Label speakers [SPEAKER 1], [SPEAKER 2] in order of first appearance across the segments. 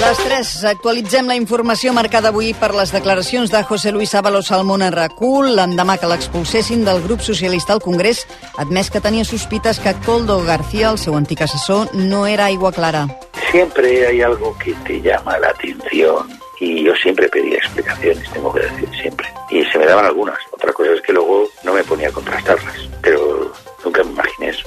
[SPEAKER 1] les 3 actualitzem la informació marcada avui per les declaracions de José Luis Ábalos al món Arracul l'endemà que l'expulsessin del grup socialista al Congrés, admès que tenia sospites que Coldo García, el seu antic assessor, no era aigua clara.
[SPEAKER 2] Siempre hay algo que te llama la atención y yo siempre pedía explicaciones, tengo que decir, siempre. Y se me daban algunas. Otra cosa es que luego no me ponía a contrastarlas, pero nunca me imaginé eso.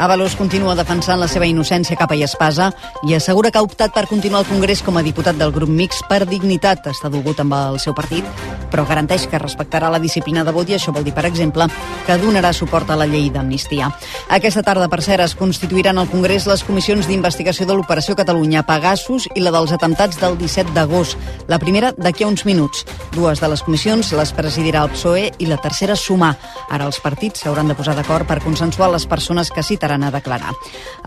[SPEAKER 1] Avalos continua defensant la seva innocència capa i espasa i assegura que ha optat per continuar al Congrés com a diputat del grup mix per dignitat. Està dolgut amb el seu partit, però garanteix que respectarà la disciplina de vot i això vol dir, per exemple, que donarà suport a la llei d'amnistia. Aquesta tarda, per cert, es constituiran al Congrés les comissions d'investigació de l'Operació Catalunya Pegasus i la dels atemptats del 17 d'agost. La primera d'aquí a uns minuts. Dues de les comissions les presidirà el PSOE i la tercera Sumar. Ara els partits s'hauran de posar d'acord per consensuar les persones que citen Taran a declarar.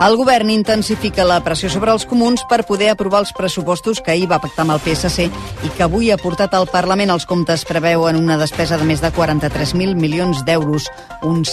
[SPEAKER 1] El govern intensifica la pressió sobre els comuns per poder aprovar els pressupostos que ahir va pactar amb el PSC i que avui ha portat al Parlament els comptes preveuen una despesa de més de 43.000 milions d'euros, un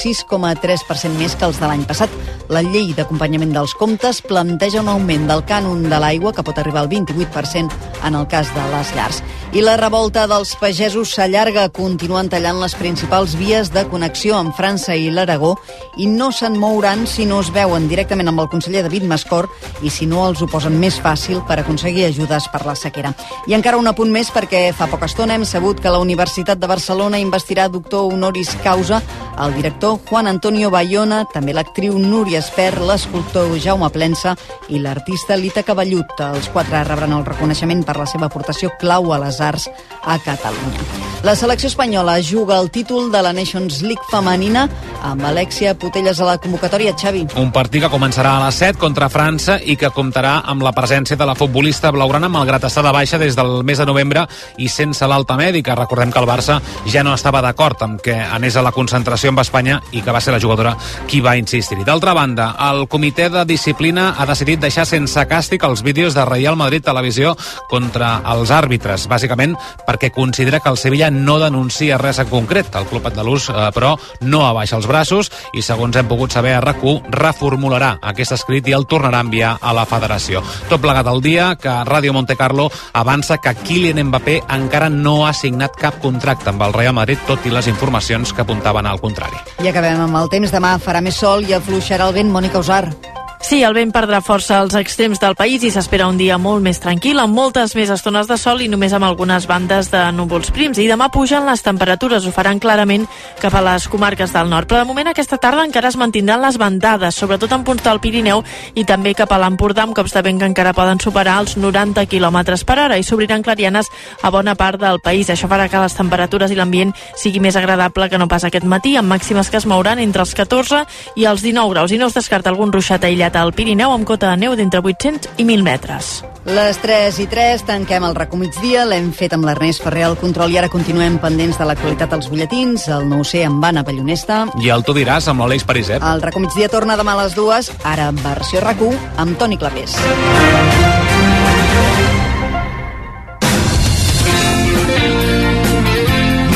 [SPEAKER 1] 6,3% més que els de l'any passat. La llei d'acompanyament dels comptes planteja un augment del cànon de l'aigua que pot arribar al 28% en el cas de les llars. I la revolta dels pagesos s'allarga, continuen tallant les principals vies de connexió amb França i l'Aragó i no se'n mouran si no es veuen directament amb el conseller David Mascor i si no els ho posen més fàcil per aconseguir ajudes per la sequera. I encara un apunt més perquè fa poca estona hem sabut que la Universitat de Barcelona investirà doctor honoris causa el director Juan Antonio Bayona, també l'actriu Núria Esper, l'escultor Jaume Plensa i l'artista Lita Cavallut. Els quatre rebran el reconeixement per la seva aportació clau a les arts a Catalunya. La selecció espanyola juga el títol de la Nations League femenina amb Alexia Putelles a la convocatòria Xavi.
[SPEAKER 3] Un partit que començarà a les 7 contra França i que comptarà amb la presència de la futbolista blaugrana, malgrat estar de baixa des del mes de novembre i sense l'alta mèdica. Recordem que el Barça ja no estava d'acord amb que anés a la concentració amb Espanya i que va ser la jugadora qui va insistir-hi. D'altra banda, el comitè de disciplina ha decidit deixar sense càstig els vídeos de Real Madrid Televisió contra els àrbitres, bàsicament perquè considera que el Sevilla no denuncia res en concret. El club andalús, eh, però, no abaixa els braços i, segons hem pogut saber a RAC1, reformularà aquest escrit i el tornarà a enviar a la federació. Tot plegat al dia que Ràdio Montecarlo avança que Kylian Mbappé encara no ha signat cap contracte amb el Real Madrid, tot i les informacions que apuntaven al contrari.
[SPEAKER 1] I acabem amb el temps. Demà farà més sol i afluixarà el vent. Mònica Usar.
[SPEAKER 4] Sí, el vent perdrà força als extrems del país i s'espera un dia molt més tranquil, amb moltes més estones de sol i només amb algunes bandes de núvols prims. I demà pugen les temperatures, ho faran clarament cap a les comarques del nord. Però de moment aquesta tarda encara es mantindran les bandades, sobretot en punts del Pirineu i també cap a l'Empordà, amb cops de vent que encara poden superar els 90 km per hora i s'obriran clarianes a bona part del país. Això farà que les temperatures i l'ambient sigui més agradable que no pas aquest matí, amb màximes que es mouran entre els 14 i els 19 graus. I no es descarta algun ruixat aïllat aïllat al Pirineu amb cota de neu d'entre 800 i 1.000 metres.
[SPEAKER 1] Les 3 i 3 tanquem el RAC1 migdia, l'hem fet amb l'Ernest Ferrer al control i ara continuem pendents de l'actualitat als butlletins, el nou c amb Anna Pallonesta.
[SPEAKER 3] I el tu diràs amb l'Aleix Pariset.
[SPEAKER 1] El RAC1 migdia torna demà a les dues, ara versió RAC1 amb Toni Clapés.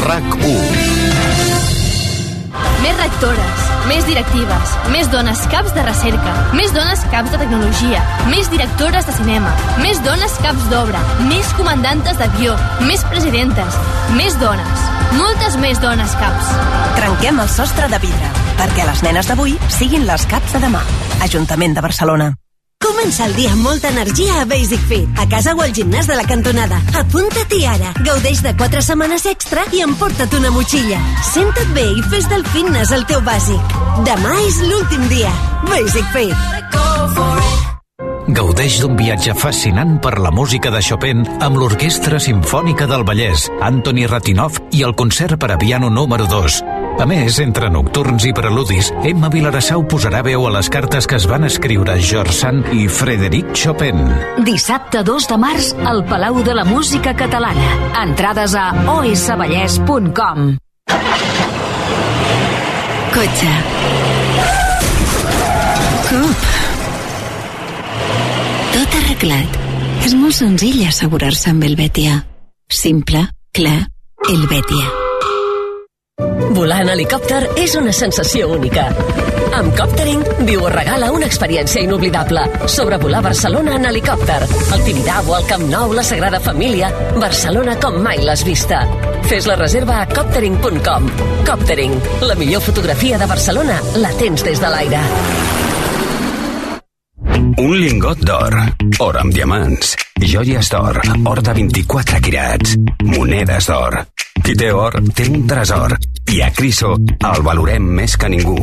[SPEAKER 5] RAC1
[SPEAKER 6] Més rectores, més directives, més dones caps de recerca, més dones caps de tecnologia, més directores de cinema, més dones caps d'obra, més comandantes d'avió, més presidentes, més dones, moltes més dones caps.
[SPEAKER 7] Trenquem el sostre de vidre perquè les nenes d'avui siguin les caps de demà. Ajuntament de Barcelona.
[SPEAKER 8] Comença el dia amb molta energia a Basic Fit, a casa o al gimnàs de la cantonada. Apunta-t'hi ara, gaudeix de 4 setmanes extra i emporta't una motxilla. Senta't bé i fes del fitness el teu bàsic. Demà és l'últim dia. Basic Fit.
[SPEAKER 9] Gaudeix d'un viatge fascinant per la música de Chopin amb l'Orquestra Simfònica del Vallès, Anthony Ratinov i el concert per a piano número 2. A més, entre nocturns i preludis, Emma Vilarassau posarà veu a les cartes que es van escriure George Sand i Frederic Chopin.
[SPEAKER 10] Dissabte 2 de març al Palau de la Música Catalana. Entrades a osvallès.com
[SPEAKER 11] Cotxe. Cop. Tot arreglat. És molt senzill assegurar-se amb el Betia. Simple, clar, el Betia. Volar en helicòpter és una sensació única. Amb Còptering, viu o regala una experiència inoblidable. Sobrevolar Barcelona en helicòpter. El Tibidabo, el Camp Nou, la Sagrada Família... Barcelona com mai l'has vista. Fes la reserva a coptering.com. Còptering, la millor fotografia de Barcelona la tens des de l'aire.
[SPEAKER 12] Un lingot d'or, or amb diamants, joies d'or, or de 24 quirats, monedes d'or. Qui té or, té un tresor. I a Criso el valorem més que ningú.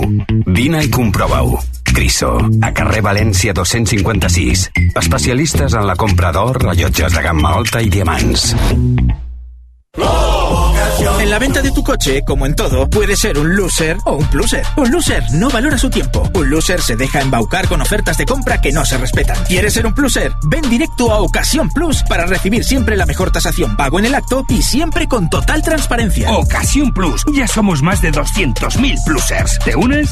[SPEAKER 12] Vine i comprova-ho. Criso, a carrer València 256. Especialistes en la compra d'or, rellotges de gamma alta i diamants.
[SPEAKER 13] En la venta de tu coche, como en todo, puede ser un loser o un pluser. Un loser no valora su tiempo. Un loser se deja embaucar con ofertas de compra que no se respetan. ¿Quieres ser un pluser? Ven directo a Ocasión Plus para recibir siempre la mejor tasación pago en el acto y siempre con total transparencia.
[SPEAKER 14] Ocasión Plus. Ya somos más de 200.000 plusers. ¿Te unes?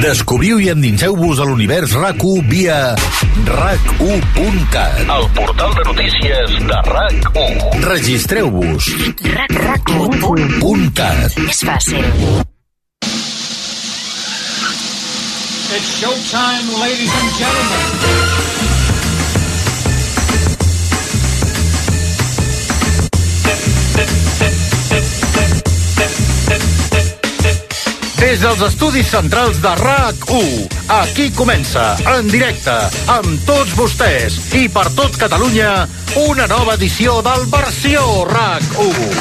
[SPEAKER 12] Descobriu i endinseu-vos a l'univers RAC1 via rac1.cat, el portal de notícies de RAC1. Registreu-vos. RAC1.cat.
[SPEAKER 15] És fàcil.
[SPEAKER 16] It's showtime, ladies and gentlemen.
[SPEAKER 17] Des dels estudis centrals de RAC1, aquí comença, en directe, amb tots vostès i per tot Catalunya, una nova edició del Versió RAC1.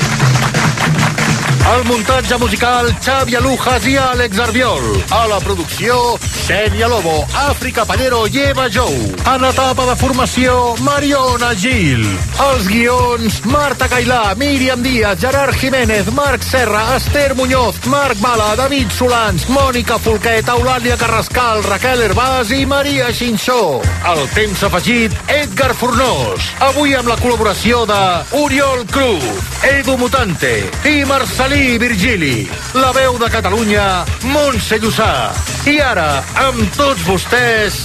[SPEAKER 17] El muntatge musical, Xavi Alujas i Àlex Arbiol. A la producció, Xènia Lobo, Àfrica Pallero i Eva Jou. A l'etapa de formació, Mariona Gil. Els guions, Marta Cailà, Míriam Díaz, Gerard Jiménez, Marc Serra, Esther Muñoz, Marc Mala, David Solans, Mònica Folquet, Eulàlia Carrascal, Raquel Herbàs i Maria Xinxó. El temps afegit, Edgar Fornós. Avui amb la col·laboració de Oriol Cruz, Edu Mutante i Marcelí Virgili. La veu de Catalunya, Montse Llussà. I ara, amb tots vostès,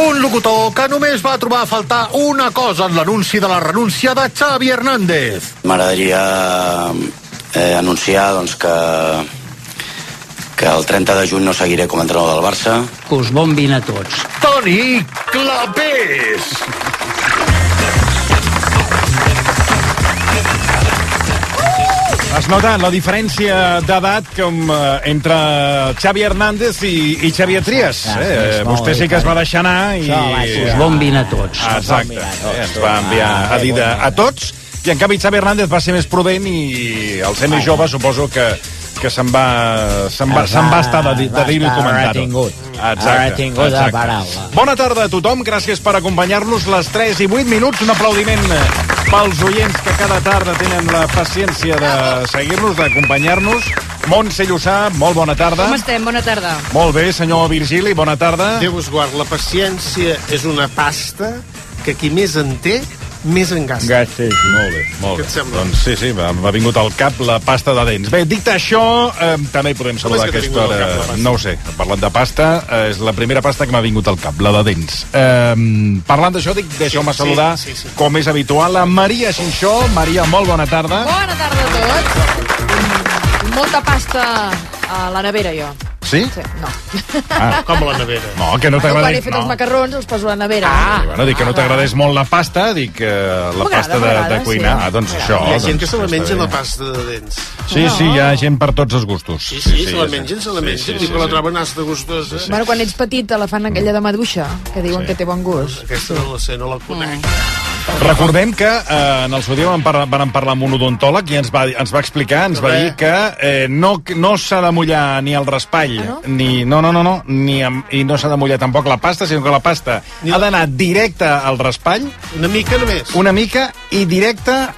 [SPEAKER 17] un locutor que només va trobar a faltar una cosa en l'anunci de la renúncia de Xavi Hernández.
[SPEAKER 18] M'agradaria eh, anunciar doncs, que, que el 30 de juny no seguiré com a entrenador del Barça.
[SPEAKER 19] Que us Doncs bon vin a tots.
[SPEAKER 17] Toni Clapés.
[SPEAKER 20] Es nota la diferència d'edat com eh, entre Xavi Hernández i, i Xavier Trias.
[SPEAKER 19] sí,
[SPEAKER 20] Eh?
[SPEAKER 19] és
[SPEAKER 20] Vostè
[SPEAKER 19] molt
[SPEAKER 20] sí que es va deixar anar i...
[SPEAKER 19] Això, va, sí, us bon vin a tots.
[SPEAKER 20] Exacte. Eh, Ens va enviar a dir de, a tots i en canvi Xavi Hernández va ser més prudent i el ser més jove suposo que que se'n va, se'n va, se'n va estar de, di- de
[SPEAKER 21] va
[SPEAKER 20] dir-ho i
[SPEAKER 21] estar
[SPEAKER 20] comentar-ho.
[SPEAKER 21] retingut.
[SPEAKER 20] Exacte,
[SPEAKER 21] Retingut de
[SPEAKER 20] exacte.
[SPEAKER 21] paraula.
[SPEAKER 20] Bona tarda a tothom, gràcies per acompanyar-nos les 3 i 8 minuts. Un aplaudiment pels oients que cada tarda tenen la paciència de seguir-nos, d'acompanyar-nos. Montse Llussà, molt bona tarda.
[SPEAKER 22] Com estem? Bona tarda.
[SPEAKER 20] Molt bé, senyor Virgili, bona tarda.
[SPEAKER 23] Déu us guard, la paciència és una pasta que qui més en té, més en gasta.
[SPEAKER 20] Gastes, molt bé. Molt
[SPEAKER 23] Què
[SPEAKER 20] bé.
[SPEAKER 23] et sembla?
[SPEAKER 20] Doncs sí, sí, m'ha m'ha vingut al cap la pasta de dents. Bé, dit això, eh, també podem
[SPEAKER 23] Com és
[SPEAKER 20] saludar
[SPEAKER 23] que t'ha
[SPEAKER 20] aquesta
[SPEAKER 23] vingut al
[SPEAKER 20] hora.
[SPEAKER 23] cap la pasta?
[SPEAKER 20] No ho sé, parlant de pasta, eh, és la primera pasta que m'ha vingut al cap, la de dents. Eh, parlant d'això, dic, deixeu-me
[SPEAKER 23] sí,
[SPEAKER 20] saludar,
[SPEAKER 23] sí, sí.
[SPEAKER 20] com és habitual, la Maria Xinxó. Maria, molt bona tarda.
[SPEAKER 22] Bona tarda a tots. Molta pasta a la nevera, jo.
[SPEAKER 20] Sí?
[SPEAKER 22] Sí, no.
[SPEAKER 20] Ah.
[SPEAKER 22] Com
[SPEAKER 23] la nevera.
[SPEAKER 20] No, que no
[SPEAKER 22] Quan he
[SPEAKER 20] t'agradi...
[SPEAKER 22] fet
[SPEAKER 20] No.
[SPEAKER 22] els macarrons, els poso a la nevera. Ah,
[SPEAKER 20] Bueno, dic que no t'agradés molt la pasta, dic que la
[SPEAKER 22] M'agrada,
[SPEAKER 20] pasta de, de
[SPEAKER 22] m'agrada,
[SPEAKER 20] cuinar.
[SPEAKER 22] sí.
[SPEAKER 20] Ah, doncs això.
[SPEAKER 23] Hi ha gent
[SPEAKER 20] doncs,
[SPEAKER 23] que se la
[SPEAKER 20] està
[SPEAKER 23] menja
[SPEAKER 20] bé.
[SPEAKER 23] la pasta de dents.
[SPEAKER 20] Sí, sí, hi ha gent per tots els gustos.
[SPEAKER 23] Sí, sí, se
[SPEAKER 20] hi ha
[SPEAKER 23] la
[SPEAKER 20] gent.
[SPEAKER 23] mengen, se la
[SPEAKER 20] Sí,
[SPEAKER 23] mengen,
[SPEAKER 20] sí,
[SPEAKER 23] i
[SPEAKER 20] sí,
[SPEAKER 23] quan la
[SPEAKER 20] sí.
[SPEAKER 23] troben hasta eh? gustosa.
[SPEAKER 22] Bueno, quan ets petit te la fan aquella de maduixa, que diuen que té bon gust.
[SPEAKER 23] Aquesta no la sé, no la conec.
[SPEAKER 22] Mm.
[SPEAKER 20] Recordem que eh, en el seu dia vam parlar, vam parlar amb un odontòleg i ens va, dir- ens va explicar, ens va
[SPEAKER 23] Re.
[SPEAKER 20] dir que eh, no, no s'ha de mullar ni el raspall, ah, no? ni, no, no, no, no ni amb, i no s'ha de mullar tampoc la pasta, sinó que la pasta ha d'anar directa al raspall.
[SPEAKER 23] Una mica només.
[SPEAKER 20] Una mica i directa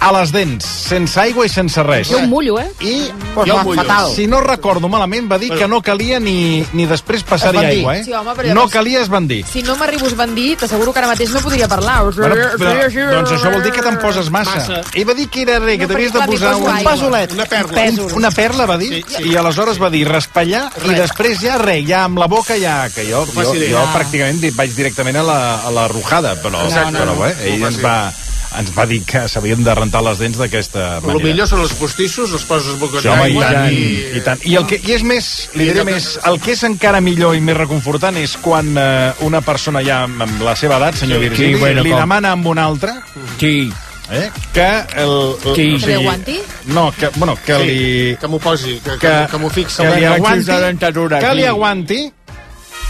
[SPEAKER 20] a les dents, sense aigua i sense res.
[SPEAKER 22] Jo em mullo, eh?
[SPEAKER 11] I
[SPEAKER 20] Jo em mullo. Si no recordo malament, va dir que no calia ni, ni després passar-hi
[SPEAKER 22] Esbandir.
[SPEAKER 20] aigua, eh?
[SPEAKER 22] Sí, home,
[SPEAKER 20] no
[SPEAKER 22] però
[SPEAKER 24] llavors-
[SPEAKER 20] calia esbandir.
[SPEAKER 22] Si no m'arribo a esbandir, t'asseguro que ara mateix no podria parlar.
[SPEAKER 20] Bueno, però, doncs això vol dir que te'n poses massa.
[SPEAKER 22] Massa.
[SPEAKER 20] Ell va dir que era rei, que
[SPEAKER 22] eh, No,
[SPEAKER 20] t'havies
[SPEAKER 22] perquè
[SPEAKER 20] de
[SPEAKER 22] clar,
[SPEAKER 20] posar
[SPEAKER 22] li poso
[SPEAKER 20] un
[SPEAKER 22] aigua.
[SPEAKER 20] pasolet.
[SPEAKER 22] Una perla. Un pèsol.
[SPEAKER 20] Una perla, va dir,
[SPEAKER 22] Sí, sí.
[SPEAKER 20] i aleshores va dir raspallar, i després ja rei, ja amb la boca ja... Que jo, jo,
[SPEAKER 11] faci bé.
[SPEAKER 20] jo
[SPEAKER 11] Ah.
[SPEAKER 20] pràcticament di- vaig directament a la, a la rojada, però,
[SPEAKER 11] Exacte.
[SPEAKER 20] però
[SPEAKER 11] No, no,
[SPEAKER 20] bé,
[SPEAKER 11] no,
[SPEAKER 20] ell
[SPEAKER 11] ho
[SPEAKER 20] ens
[SPEAKER 11] faci.
[SPEAKER 20] va, ens va dir que s'havien de rentar les dents d'aquesta
[SPEAKER 11] El
[SPEAKER 20] manera.
[SPEAKER 11] millor són els postissos, els poses boca
[SPEAKER 20] Sí, home, i
[SPEAKER 11] d'aigua
[SPEAKER 20] tant,
[SPEAKER 11] i...
[SPEAKER 20] i tant. I, el que, I és més, li diré més, el que és encara millor i més reconfortant és quan eh, una persona ja amb- amb la seva edat, senyor
[SPEAKER 17] Sí,
[SPEAKER 20] Virgili,
[SPEAKER 17] bueno,
[SPEAKER 20] li
[SPEAKER 17] com?
[SPEAKER 20] demana amb una altra
[SPEAKER 17] Sí.
[SPEAKER 20] eh, que el... el
[SPEAKER 17] Sí.
[SPEAKER 20] o
[SPEAKER 17] Que
[SPEAKER 20] sigui,
[SPEAKER 17] li aguanti?
[SPEAKER 20] No, que, bueno, que
[SPEAKER 17] Sí,
[SPEAKER 20] li...
[SPEAKER 11] Que m'ho
[SPEAKER 23] Oh,
[SPEAKER 11] posi, que, que,
[SPEAKER 20] que,
[SPEAKER 11] que m'ho fixi.
[SPEAKER 20] que li aguanti,
[SPEAKER 11] la dentadura
[SPEAKER 20] que
[SPEAKER 11] aquí.
[SPEAKER 20] li aguanti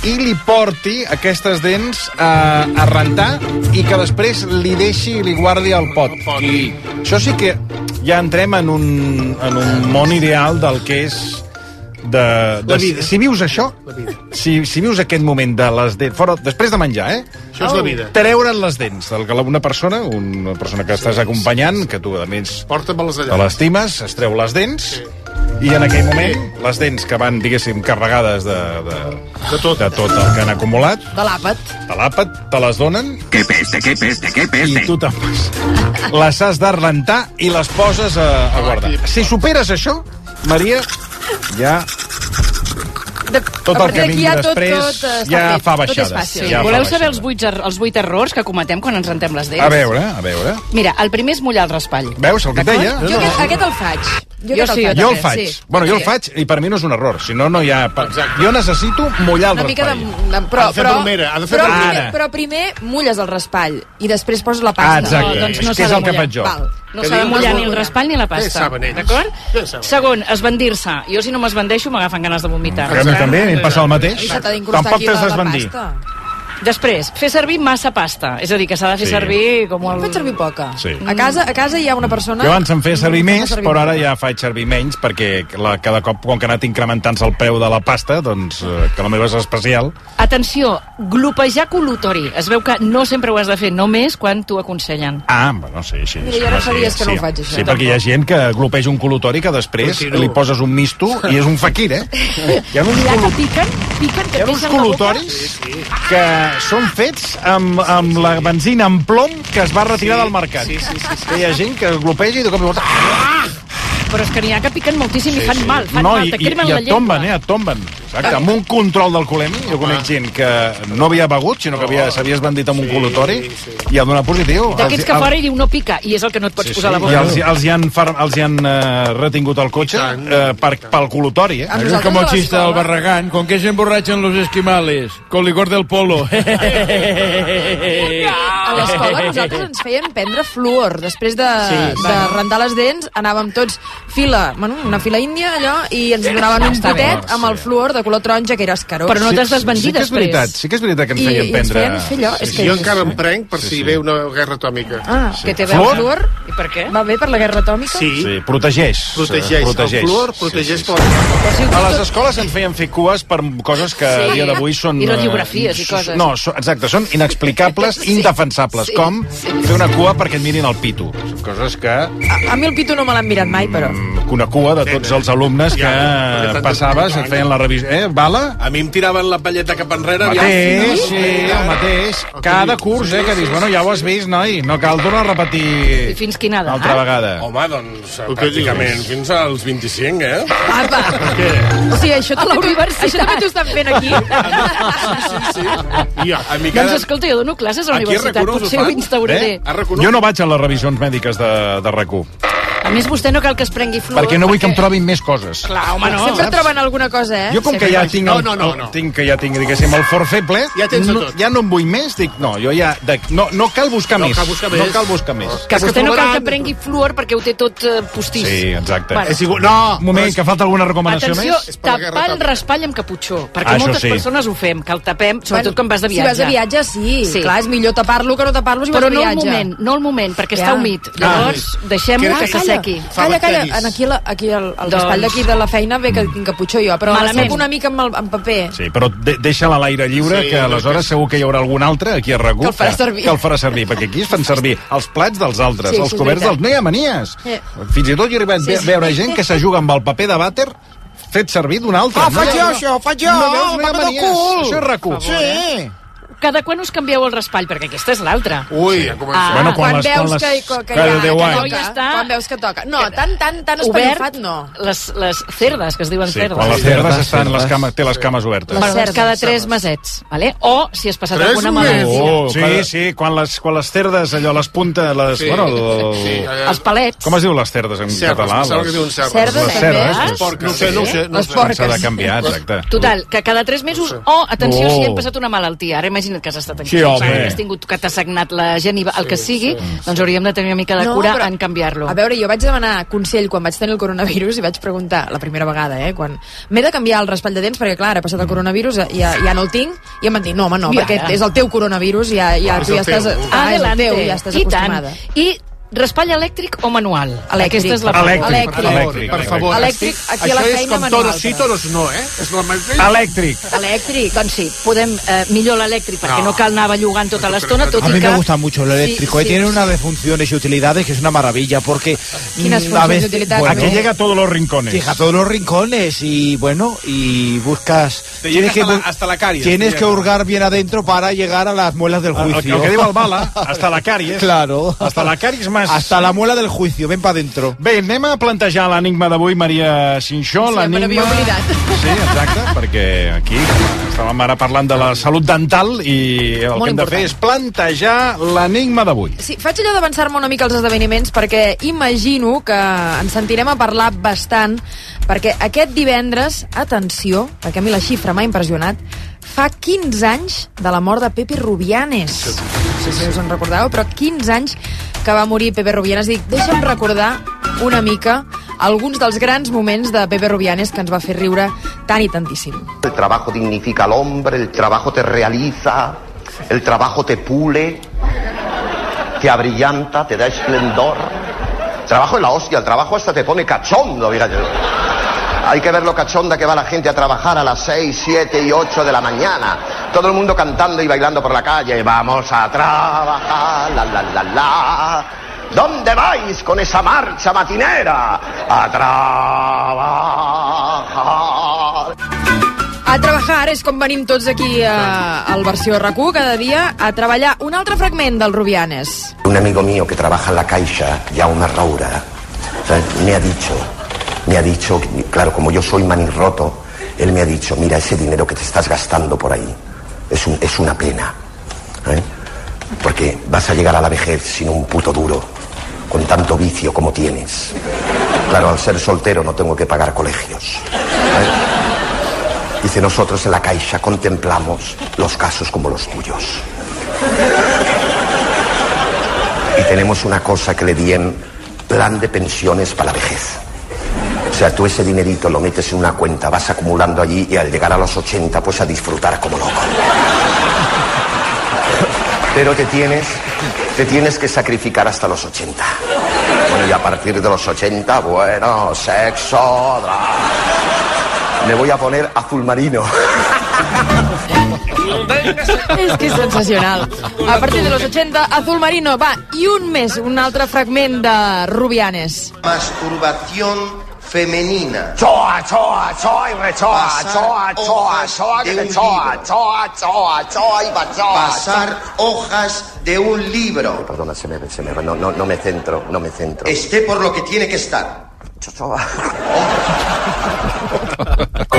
[SPEAKER 20] i li porti aquestes dents a, a rentar i que després li deixi i li guardi el pot. I això sí que ja entrem en un, en un món ideal del que és de, de,
[SPEAKER 11] La vida.
[SPEAKER 20] si vius això si, si vius aquest moment de les dents fora, després de menjar, eh?
[SPEAKER 11] Això és la vida.
[SPEAKER 20] treure'n les dents del que una persona una persona que estàs acompanyant que tu a més
[SPEAKER 11] Porta-me-les
[SPEAKER 20] te
[SPEAKER 11] allà.
[SPEAKER 20] l'estimes, es treu les dents sí. i en aquell moment les dents que van, diguéssim, carregades de, de, de, tot. de tot el que han acumulat,
[SPEAKER 22] De l'àpat.
[SPEAKER 20] de l'àpat, te les donen
[SPEAKER 10] ¡Qué peste, qué peste, qué peste!
[SPEAKER 20] i tu te'n vas. Les has de rentar i les poses a, a guardar. Si superes això, Maria, ja... Tot el
[SPEAKER 25] A partir
[SPEAKER 20] que
[SPEAKER 25] d'aquí
[SPEAKER 20] vingui
[SPEAKER 25] ja tot-
[SPEAKER 20] després
[SPEAKER 25] tot eh, està
[SPEAKER 20] ja
[SPEAKER 25] fet,
[SPEAKER 20] fa
[SPEAKER 25] tot és
[SPEAKER 20] baixades.
[SPEAKER 25] fàcil.
[SPEAKER 20] Ja
[SPEAKER 25] Voleu
[SPEAKER 20] fa
[SPEAKER 25] saber els vuit, er- els vuit errors que cometem quan ens rentem les dents?
[SPEAKER 20] baixades. A veure, a veure.
[SPEAKER 25] Mira, el primer és mullar el raspall.
[SPEAKER 20] Veus el que et
[SPEAKER 25] D'acord?
[SPEAKER 20] deia?
[SPEAKER 25] Jo aquest, aquest el faig. Jo, jo, sí,
[SPEAKER 20] jo el
[SPEAKER 25] també,
[SPEAKER 20] faig.
[SPEAKER 25] Sí.
[SPEAKER 20] Bueno, jo el faig i per mi no és un error. Si no, no hi ha... Jo necessito mullar el
[SPEAKER 22] Una mica de...
[SPEAKER 20] raspall.
[SPEAKER 22] de però,
[SPEAKER 20] Ha de fer
[SPEAKER 22] però,
[SPEAKER 20] bromera, ha de fer
[SPEAKER 22] però,
[SPEAKER 20] bromera.
[SPEAKER 22] primer,
[SPEAKER 20] Ara.
[SPEAKER 22] però primer mulles el raspall i després poses la pasta.
[SPEAKER 20] Ah, exacte. No, doncs no És que és s'ha de el que mullar. faig jo.
[SPEAKER 22] Val.
[SPEAKER 25] No
[SPEAKER 22] Que
[SPEAKER 25] s'ha de
[SPEAKER 22] diu-
[SPEAKER 25] mullar ni el raspall ni la pasta.
[SPEAKER 22] Què saben ells?
[SPEAKER 25] D'acord?
[SPEAKER 22] Què saben?
[SPEAKER 25] Segon, esbandir-se. Jo, si no m'esbandeixo, m'agafen ganes de vomitar.
[SPEAKER 20] Que a mi també, a mi em passa el mateix.
[SPEAKER 22] I se t'ha d'incrustar
[SPEAKER 20] Tampoc
[SPEAKER 22] aquí
[SPEAKER 20] t'has
[SPEAKER 22] la- la
[SPEAKER 20] d'esbandir.
[SPEAKER 22] pasta.
[SPEAKER 25] Després, fer servir massa pasta. És a dir, que s'ha de fer
[SPEAKER 20] Sí.
[SPEAKER 25] servir com el...
[SPEAKER 22] Faig servir poca.
[SPEAKER 20] Sí.
[SPEAKER 22] A casa, a casa hi ha una persona...
[SPEAKER 20] Jo abans em feia servir
[SPEAKER 22] que fa
[SPEAKER 20] més, però ara ja faig servir menys, perquè la, cada cop, com que ha anat incrementant-se el preu de la pasta, doncs, eh, que la meva és especial...
[SPEAKER 25] Atenció, glopejar col·lutori. Es veu que no sempre ho has de fer, només quan t'ho aconsellen.
[SPEAKER 20] Ah, bueno, sí, sí.
[SPEAKER 25] Mira,
[SPEAKER 20] sí,
[SPEAKER 25] jo ara
[SPEAKER 20] home,
[SPEAKER 25] fa
[SPEAKER 20] sí,
[SPEAKER 25] dies que no
[SPEAKER 20] sí.
[SPEAKER 25] ho faig, això.
[SPEAKER 20] Sí, perquè hi ha gent que glopeja un col·lutori que després
[SPEAKER 25] Continua.
[SPEAKER 20] li poses un misto i és un faquir, eh? Hi ha uns,
[SPEAKER 25] Mira que
[SPEAKER 20] col·lu-
[SPEAKER 25] piquen, piquen,
[SPEAKER 20] hi
[SPEAKER 25] que
[SPEAKER 20] ha uns
[SPEAKER 25] pesen la boca.
[SPEAKER 20] col·lutoris que són fets amb, amb la benzina en plom que es va retirar
[SPEAKER 25] Sí,
[SPEAKER 20] del mercat.
[SPEAKER 25] sí, sí, sí, sí.
[SPEAKER 20] Que Hi ha gent que glopeja i de cop i volta...
[SPEAKER 25] Però és que n'hi ha que piquen moltíssim
[SPEAKER 20] Sí,
[SPEAKER 25] i fan
[SPEAKER 20] sí.
[SPEAKER 25] mal, fan
[SPEAKER 20] no,
[SPEAKER 25] mal,
[SPEAKER 20] i,
[SPEAKER 25] te cremen
[SPEAKER 20] i, i
[SPEAKER 25] la
[SPEAKER 20] et
[SPEAKER 25] llengua.
[SPEAKER 20] tomben, eh, et tomben. Exacte, amb un control del colemi. Jo conec gent que no havia begut, sinó que havia- s'havia esbandit amb un col·lutori i ha donat positiu. Els-
[SPEAKER 25] D'aquests que
[SPEAKER 20] el-
[SPEAKER 25] fora hi diu no pica, i és el que no et pots
[SPEAKER 20] Sí, sí,
[SPEAKER 25] posar a la
[SPEAKER 20] I
[SPEAKER 25] boca.
[SPEAKER 20] els, els hi han, far, els hi han eh, retingut el cotxe eh, per, pel col·lutori, eh?
[SPEAKER 19] Es como el chiste del Barragán, con qué se emborrachan los esquimales? Con licor del polo.
[SPEAKER 22] A l'escola nosaltres ens feien prendre fluor. Després de, sí,
[SPEAKER 19] Sí.
[SPEAKER 22] de rentar les dents anàvem tots fila, bueno, una fila índia, allò, i ens donaven un
[SPEAKER 20] Està bé.
[SPEAKER 22] potet amb el fluor de color taronja, que era escarós.
[SPEAKER 25] Però no t'has
[SPEAKER 20] sí que és veritat, sí que és veritat que ens
[SPEAKER 22] I-
[SPEAKER 20] feien
[SPEAKER 22] i ens
[SPEAKER 20] prendre...
[SPEAKER 22] feien fer allò, és
[SPEAKER 20] Sí,
[SPEAKER 22] que
[SPEAKER 20] sí.
[SPEAKER 11] Jo encara em prenc per
[SPEAKER 20] Sí,
[SPEAKER 11] si
[SPEAKER 20] sí.
[SPEAKER 11] ve una guerra atòmica.
[SPEAKER 22] Ah,
[SPEAKER 20] Sí.
[SPEAKER 22] que té a veure
[SPEAKER 20] Fluor?
[SPEAKER 22] el fluor?
[SPEAKER 25] I per què?
[SPEAKER 22] Va bé per la guerra atòmica?
[SPEAKER 20] Sí. sí, protegeix.
[SPEAKER 11] Protegeix.
[SPEAKER 20] protegeix.
[SPEAKER 11] El fluor protegeix per
[SPEAKER 20] A les escoles ens feien fer cues per coses que
[SPEAKER 11] Sí.
[SPEAKER 20] a dia d'avui són...
[SPEAKER 11] I
[SPEAKER 20] eh,
[SPEAKER 11] radiografies i
[SPEAKER 20] so-
[SPEAKER 11] coses.
[SPEAKER 20] No, so, exacte, són inexplicables, sí. indefensables.
[SPEAKER 22] Sí.
[SPEAKER 20] Com
[SPEAKER 22] Sí.
[SPEAKER 20] fer una cua perquè et mirin el pito. Són coses que...
[SPEAKER 22] A, a mi el pito no me l'han mirat mai, però...
[SPEAKER 20] Una cua de tots els alumnes que
[SPEAKER 11] perquè
[SPEAKER 20] passaves, et feien la revisió... Eh, bala?
[SPEAKER 11] A mi em tiraven la palleta cap enrere.
[SPEAKER 20] Mateix, sí, el mateix. Cada curs, eh, que dius, bueno, ja ho has vist, noi, no cal tornar a repetir...
[SPEAKER 25] I fins eh?" quina edat?
[SPEAKER 20] Altra vegada.
[SPEAKER 11] Home, doncs, pràcticament, fins als 25, eh?
[SPEAKER 20] Ah,
[SPEAKER 22] O sigui, això
[SPEAKER 25] A la
[SPEAKER 22] també t'ho-
[SPEAKER 25] universitat.
[SPEAKER 22] això també t'ho estan fent aquí.
[SPEAKER 11] Ja, a mi
[SPEAKER 25] Doncs
[SPEAKER 11] cada...
[SPEAKER 25] escolta, jo dono classes a la
[SPEAKER 11] Aquí a
[SPEAKER 25] universitat,
[SPEAKER 11] RAC1 us ho
[SPEAKER 25] potser ho
[SPEAKER 11] fan?
[SPEAKER 25] instauraré.
[SPEAKER 20] Eh? Jo no vaig a les revisions mèdiques de, de RAC1,
[SPEAKER 25] A més, vostè no cal que es prengui fluor.
[SPEAKER 20] perquè no vull que em Ah, trobin més coses.
[SPEAKER 25] Clar, home, no.
[SPEAKER 22] Sempre
[SPEAKER 20] saps?
[SPEAKER 22] troben alguna cosa, eh?
[SPEAKER 20] Jo com que
[SPEAKER 22] Sempre
[SPEAKER 20] ja
[SPEAKER 22] vaig-
[SPEAKER 20] tinc, el, el- tinc que ja tinc, diguéssim, el fort feble,
[SPEAKER 22] Ja tens de
[SPEAKER 20] no,
[SPEAKER 22] tot.
[SPEAKER 20] ja no en vull més, dic, no, jo ja, de, no, no cal buscar
[SPEAKER 11] No
[SPEAKER 20] més.
[SPEAKER 11] cal buscar més.
[SPEAKER 20] No cal buscar més.
[SPEAKER 25] Que vostè no cal que prengui fluor perquè ho té tot eh, postís.
[SPEAKER 20] Sí, exacte.
[SPEAKER 25] Vale.
[SPEAKER 20] És igual- no, un moment, que falta alguna recomanació
[SPEAKER 25] Atenció,
[SPEAKER 20] més?
[SPEAKER 25] tapar el raspall amb caputxó, perquè
[SPEAKER 20] Ah, això
[SPEAKER 25] moltes
[SPEAKER 20] sí.
[SPEAKER 25] persones ho fem, que el tapem, sobretot quan vas de viatge.
[SPEAKER 22] Si vas de viatge, sí. sí. Clar, és millor tapar-lo que no tapar-lo si vas
[SPEAKER 25] Però
[SPEAKER 22] de
[SPEAKER 25] no el
[SPEAKER 22] viatge.
[SPEAKER 25] moment, no el moment, perquè
[SPEAKER 22] Ja.
[SPEAKER 25] està humit.
[SPEAKER 22] Ah,
[SPEAKER 25] Llavors,
[SPEAKER 22] sí.
[SPEAKER 25] deixem-ho
[SPEAKER 22] Calla,
[SPEAKER 25] que
[SPEAKER 22] calla, aquí.
[SPEAKER 11] Fa
[SPEAKER 22] Calla, calla,
[SPEAKER 11] bacteris.
[SPEAKER 22] en aquí, la, aquí el, el
[SPEAKER 11] Doncs-
[SPEAKER 22] despatx d'aquí de la feina ve que, que putxo jo, però Malament. l'escap una mica amb, el, amb paper.
[SPEAKER 20] Sí, però de deixa-la a l'aire lliure,
[SPEAKER 22] Sí,
[SPEAKER 20] sí, que
[SPEAKER 22] no,
[SPEAKER 20] aleshores que... segur que hi haurà algun altre aquí a RAC1
[SPEAKER 22] Que el farà servir.
[SPEAKER 20] que el farà servir, perquè aquí es fan servir els plats dels altres, sí,
[SPEAKER 22] Sí, sí,
[SPEAKER 20] els
[SPEAKER 22] és
[SPEAKER 20] coberts dels...
[SPEAKER 22] veritat.
[SPEAKER 20] No hi ha manies!
[SPEAKER 22] Eh.
[SPEAKER 20] Fins i tot jo he arribat
[SPEAKER 22] Sí,
[SPEAKER 20] sí,
[SPEAKER 22] sí.
[SPEAKER 20] sí. a veure gent que s'ajuga amb el paper de vàter fet servir d'un altre.
[SPEAKER 25] Ah,
[SPEAKER 20] No
[SPEAKER 25] faig
[SPEAKER 20] hi ha-
[SPEAKER 25] jo això, faig jo,
[SPEAKER 20] No veus, no hi ha
[SPEAKER 25] paper de
[SPEAKER 20] manies.
[SPEAKER 25] cul.
[SPEAKER 20] Això és RAC1.
[SPEAKER 25] Per favor, Sí.
[SPEAKER 20] eh?
[SPEAKER 25] Cada quan us canvieu el raspall? Perquè aquesta és l'altra. Ah,
[SPEAKER 20] Ui, ja comença. Bueno, quan les- quan
[SPEAKER 22] veus
[SPEAKER 20] les-
[SPEAKER 22] que, que, que,
[SPEAKER 20] cada
[SPEAKER 22] ja, que
[SPEAKER 20] deu
[SPEAKER 22] toca,
[SPEAKER 20] anys.
[SPEAKER 22] quan veus que toca. No, tan, tan, tan espanyofat no.
[SPEAKER 25] Les, les cerdes, que es diuen
[SPEAKER 20] Sí,
[SPEAKER 25] cerdes.
[SPEAKER 20] quan les cerdes estan,
[SPEAKER 3] cerdes.
[SPEAKER 20] les cames, té les cames obertes.
[SPEAKER 25] Bueno, doncs cada tres mesets, vale? o si has passat alguna malaltia.
[SPEAKER 20] Oh, sí, sí, quan les, quan les cerdes, allò, les puntes... Les,
[SPEAKER 25] Sí.
[SPEAKER 20] sí. bueno, el,
[SPEAKER 25] Sí, allà- Els palets.
[SPEAKER 20] Com es diu les cerdes en
[SPEAKER 11] Cerdes,
[SPEAKER 20] català?
[SPEAKER 11] em sembla que
[SPEAKER 20] Les-
[SPEAKER 11] diuen cerdes.
[SPEAKER 25] Cerdes,
[SPEAKER 20] les
[SPEAKER 25] també,
[SPEAKER 20] cerdes.
[SPEAKER 25] eh?
[SPEAKER 20] les-
[SPEAKER 11] Porc, no ho sé, no ho sé, no ho sé.
[SPEAKER 20] S'ha de canviar, exacte.
[SPEAKER 25] Total, que cada tres mesos, o, oh, atenció,
[SPEAKER 20] Oh.
[SPEAKER 25] si hem passat una malaltia, ara imagina't que has estat en
[SPEAKER 20] Sí, home.
[SPEAKER 25] que has tingut, que t'ha sagnat la geniva, el que sigui, doncs hauríem de tenir una mica de
[SPEAKER 22] No,
[SPEAKER 25] cura
[SPEAKER 22] però-
[SPEAKER 25] en canviar-lo.
[SPEAKER 22] A veure, jo vaig demanar consell quan vaig tenir el coronavirus i vaig preguntar, la primera vegada, eh, quan m'he de canviar el raspall de dents perquè, clar, ara ha passat
[SPEAKER 25] Mm.
[SPEAKER 22] el coronavirus, eh, ja, ja no el tinc, i em van dir, no, home, no,
[SPEAKER 25] Ja.
[SPEAKER 22] perquè és el teu coronavirus, ja, ja,
[SPEAKER 25] Clar,
[SPEAKER 22] tu
[SPEAKER 25] és
[SPEAKER 22] ja
[SPEAKER 25] el teu.
[SPEAKER 22] estàs, ah, és el
[SPEAKER 25] Adelante.
[SPEAKER 22] teu, ja estàs
[SPEAKER 25] I tant.
[SPEAKER 22] acostumada.
[SPEAKER 25] I raspall elèctric o manual?
[SPEAKER 22] Elèctric.
[SPEAKER 25] Aquesta és la
[SPEAKER 20] Elèctric.
[SPEAKER 25] Elèctric.
[SPEAKER 20] Elèctric.
[SPEAKER 11] Per favor,
[SPEAKER 25] Elèctric,
[SPEAKER 11] estic-
[SPEAKER 25] aquí a la
[SPEAKER 11] això
[SPEAKER 25] feina
[SPEAKER 11] és com
[SPEAKER 25] manual,
[SPEAKER 11] toros sí,
[SPEAKER 25] però.
[SPEAKER 11] toros no, eh? És la mateixa...
[SPEAKER 20] Elèctric.
[SPEAKER 25] Elèctric, doncs sí, podem, eh, millor l'elèctric, perquè no.
[SPEAKER 1] No.
[SPEAKER 25] cal anar bellugant tota l'estona, tot
[SPEAKER 1] a mí
[SPEAKER 25] i que...
[SPEAKER 1] me gusta mucho lo eléctrico.
[SPEAKER 25] Sí,
[SPEAKER 1] eh,
[SPEAKER 25] sí.
[SPEAKER 1] Tiene una de funciones y utilidades que es una maravilla porque
[SPEAKER 25] Quines
[SPEAKER 1] mm, a
[SPEAKER 25] funciones y
[SPEAKER 1] veces
[SPEAKER 25] utilidades?
[SPEAKER 1] bueno,
[SPEAKER 25] Aquí
[SPEAKER 20] llega a todos los rincones.
[SPEAKER 1] Llega a todos los rincones y bueno y buscas.
[SPEAKER 20] Te llega hasta
[SPEAKER 1] bu-
[SPEAKER 20] la- hasta la caries,
[SPEAKER 1] Tienes
[SPEAKER 20] te
[SPEAKER 1] que
[SPEAKER 20] llega.
[SPEAKER 1] hurgar bien adentro para llegar a las muelas del
[SPEAKER 20] El,
[SPEAKER 1] juicio.
[SPEAKER 20] el que diu el bala, hasta la càries.
[SPEAKER 1] Claro.
[SPEAKER 20] Hasta la càries més...
[SPEAKER 1] Hasta la muela del juicio. Ven para adentro.
[SPEAKER 20] Bé, anem a plantejar l'enigma d'avui, Maria Sinxó.
[SPEAKER 22] Sí, me n'havia
[SPEAKER 20] l'enigma...
[SPEAKER 22] oblidat.
[SPEAKER 20] Sí, exacte, perquè aquí estàvem ara parlant de la salut dental i el
[SPEAKER 22] Molt
[SPEAKER 20] que hem de fer és plantejar l'enigma d'avui.
[SPEAKER 22] Sí, faig allò d'avançar-me una mica als esdeveniments perquè imagino que ens sentirem a parlar bastant perquè aquest divendres, atenció, perquè a mi la xifra m'ha impressionat, fa 15 anys de la mort de Pepe Rubianes. No sé si us en recordeu, però 15 anys que va morir Pepe Rubianes. Dic, deixa'm recordar una mica alguns dels grans moments de Pepe Rubianes que ens va fer riure tant i tantíssim.
[SPEAKER 26] El trabajo dignifica al hombre, el trabajo te realiza, el trabajo te pule, te abrillanta, te da esplendor. El trabajo es la hostia, el trabajo hasta te pone cachondo, fíjate. Hay que ver lo cachonda que va la gente a trabajar a las 6, 7 y 8 de la mañana. Todo el mundo cantando y bailando por la calle. Vamos a trabajar, la, la, la, la. ¿Dónde vais con esa marcha matinera? A trabajar.
[SPEAKER 22] A treballar és com venim tots aquí a, al versió rac cada dia a treballar un altre fragment del Rubianes.
[SPEAKER 26] Un amigo mío que trabaja en la Caixa, Jaume Raura, ¿sabes? me ha dicho, me ha dicho, claro, como yo soy manirroto, él me ha dicho, mira, ese dinero que te estás gastando por ahí es, un- es una pena, ¿eh? porque vas a llegar a la vejez sin un puto duro, con tanto vicio como tienes. Claro, al ser soltero no tengo que pagar colegios. ¿eh? Dice, nosotros en la Caixa contemplamos los casos como los tuyos. y tenemos una cosa que le di en plan de pensiones para la vejez. O sea, tú ese dinerito lo metes en una cuenta, vas acumulando allí y al llegar a los 80 pues a disfrutar como loco. Pero te tienes, te tienes que sacrificar hasta los 80. Bueno, y a partir de los 80, bueno, sexo, dra- Me voy a poner azul marino.
[SPEAKER 22] És que és sensacional. A partir de los 80, Azul Marino, va, i un més, un altre fragment de Rubianes.
[SPEAKER 12] Masturbación femenina.
[SPEAKER 26] Choa, choa, choa y rechoa,
[SPEAKER 12] Pasar
[SPEAKER 26] choa, choa,
[SPEAKER 12] hojas
[SPEAKER 26] choa, que
[SPEAKER 12] de
[SPEAKER 26] te
[SPEAKER 12] un
[SPEAKER 26] choa,
[SPEAKER 12] libro.
[SPEAKER 26] choa, choa, choa y bachoa.
[SPEAKER 12] Pasar hojas de un libro.
[SPEAKER 26] Perdona, se me, se me, no, no, no me centro, no me centro.
[SPEAKER 12] Esté por lo que tiene que estar.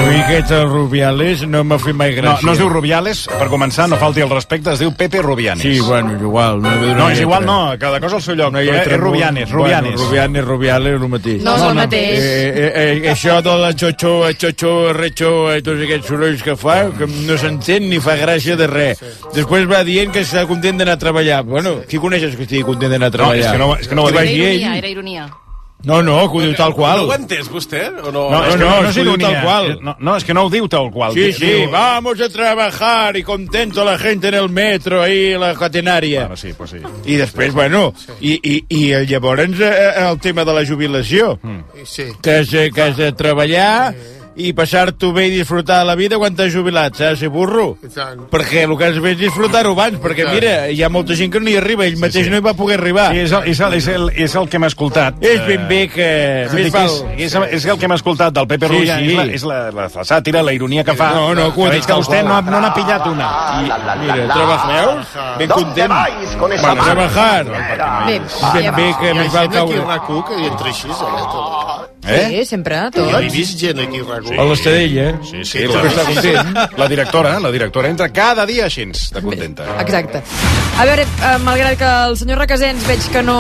[SPEAKER 19] Ui, aquest Rubiales no m'ha fet mai
[SPEAKER 20] No,
[SPEAKER 19] gràcia.
[SPEAKER 20] no es diu Rubiales, per començar, no falti el respecte, es diu Pepe Rubianes.
[SPEAKER 19] Sí, bueno, igual. No,
[SPEAKER 20] No, és igual, no, cada cosa al seu lloc. No,
[SPEAKER 19] hi ha
[SPEAKER 20] eh,
[SPEAKER 19] lletra,
[SPEAKER 20] és Rubianes,
[SPEAKER 19] bueno,
[SPEAKER 20] Rubianes.
[SPEAKER 19] Rubianes, Rubiales, és el mateix.
[SPEAKER 22] No és el mateix.
[SPEAKER 19] Eh, eh, eh, això de la xotxo, eh, xotxo, eh, retxo, eh, tots aquests sorolls que fa, que no s'entén ni fa gràcia de res. Després va dient que està content d'anar a treballar. Bueno, qui coneixes que estigui content d'anar a treballar?
[SPEAKER 20] és que no- és que no ho ha
[SPEAKER 19] Qui va
[SPEAKER 25] Era
[SPEAKER 22] eh?
[SPEAKER 19] dir ell?
[SPEAKER 25] ironia, era ironia.
[SPEAKER 19] No, no, que ho diu tal qual.
[SPEAKER 11] No ho ha entès vostè? O
[SPEAKER 19] No,
[SPEAKER 11] no?
[SPEAKER 19] no,
[SPEAKER 20] és que
[SPEAKER 19] no,
[SPEAKER 20] no
[SPEAKER 19] no
[SPEAKER 20] s'hi
[SPEAKER 19] s'ho diu
[SPEAKER 20] domina.
[SPEAKER 19] tal qual.
[SPEAKER 20] No, no, és que no ho diu tal qual.
[SPEAKER 19] Sí,
[SPEAKER 20] Diu-
[SPEAKER 19] sí,
[SPEAKER 20] diu-
[SPEAKER 19] vamos a trabajar y contento la gente en el metro ahí, la catenaria. Bueno,
[SPEAKER 20] sí, pues sí.
[SPEAKER 19] I després, bueno, i, i, i eh, llavors eh, el tema de la jubilació,
[SPEAKER 20] Hmm.
[SPEAKER 11] Sí.
[SPEAKER 19] que has, eh, que has de treballar i passar-t'ho bé i disfrutar la vida quan t'has jubilat, saps, si burro?
[SPEAKER 11] I tant.
[SPEAKER 19] Perquè el que has de fer és disfrutar-ho abans, perquè
[SPEAKER 11] tant.
[SPEAKER 19] mira, hi ha molta gent que no hi arriba, ell mateix no hi va poder arribar.
[SPEAKER 20] I és el, és, el, és, el, és el que hem escoltat. Eh,
[SPEAKER 19] És ben bé que...
[SPEAKER 20] És,
[SPEAKER 19] més
[SPEAKER 20] és,
[SPEAKER 19] val-
[SPEAKER 20] és, és el que hem escoltat del Pepe
[SPEAKER 19] Sí,
[SPEAKER 20] Rulla,
[SPEAKER 19] sí.
[SPEAKER 20] és, la, és la, la, la sàtira, la ironia que fa.
[SPEAKER 19] No, no, que ho ha
[SPEAKER 20] que
[SPEAKER 19] dit
[SPEAKER 20] veig que
[SPEAKER 19] tal
[SPEAKER 20] vostè
[SPEAKER 19] qual.
[SPEAKER 20] no, ha- no n'ha pillat una.
[SPEAKER 19] Ah, Mira, trabajadors, ben content. Bueno, trabajar.
[SPEAKER 22] Bé,
[SPEAKER 19] Ben bé que més val
[SPEAKER 11] Hi ha gent aquí
[SPEAKER 19] caure.
[SPEAKER 11] a RAC1 que hi entra així, eh?
[SPEAKER 22] Sí, sempre,
[SPEAKER 11] Jo he
[SPEAKER 22] tots.
[SPEAKER 11] vist gent aquí a RAC1.
[SPEAKER 19] A l'Estadell, eh?
[SPEAKER 27] Sí, sí, la, la directora, la directora entra cada dia així de contenta.
[SPEAKER 22] Exacte. A veure, eh, malgrat que el senyor Requesens veig que no,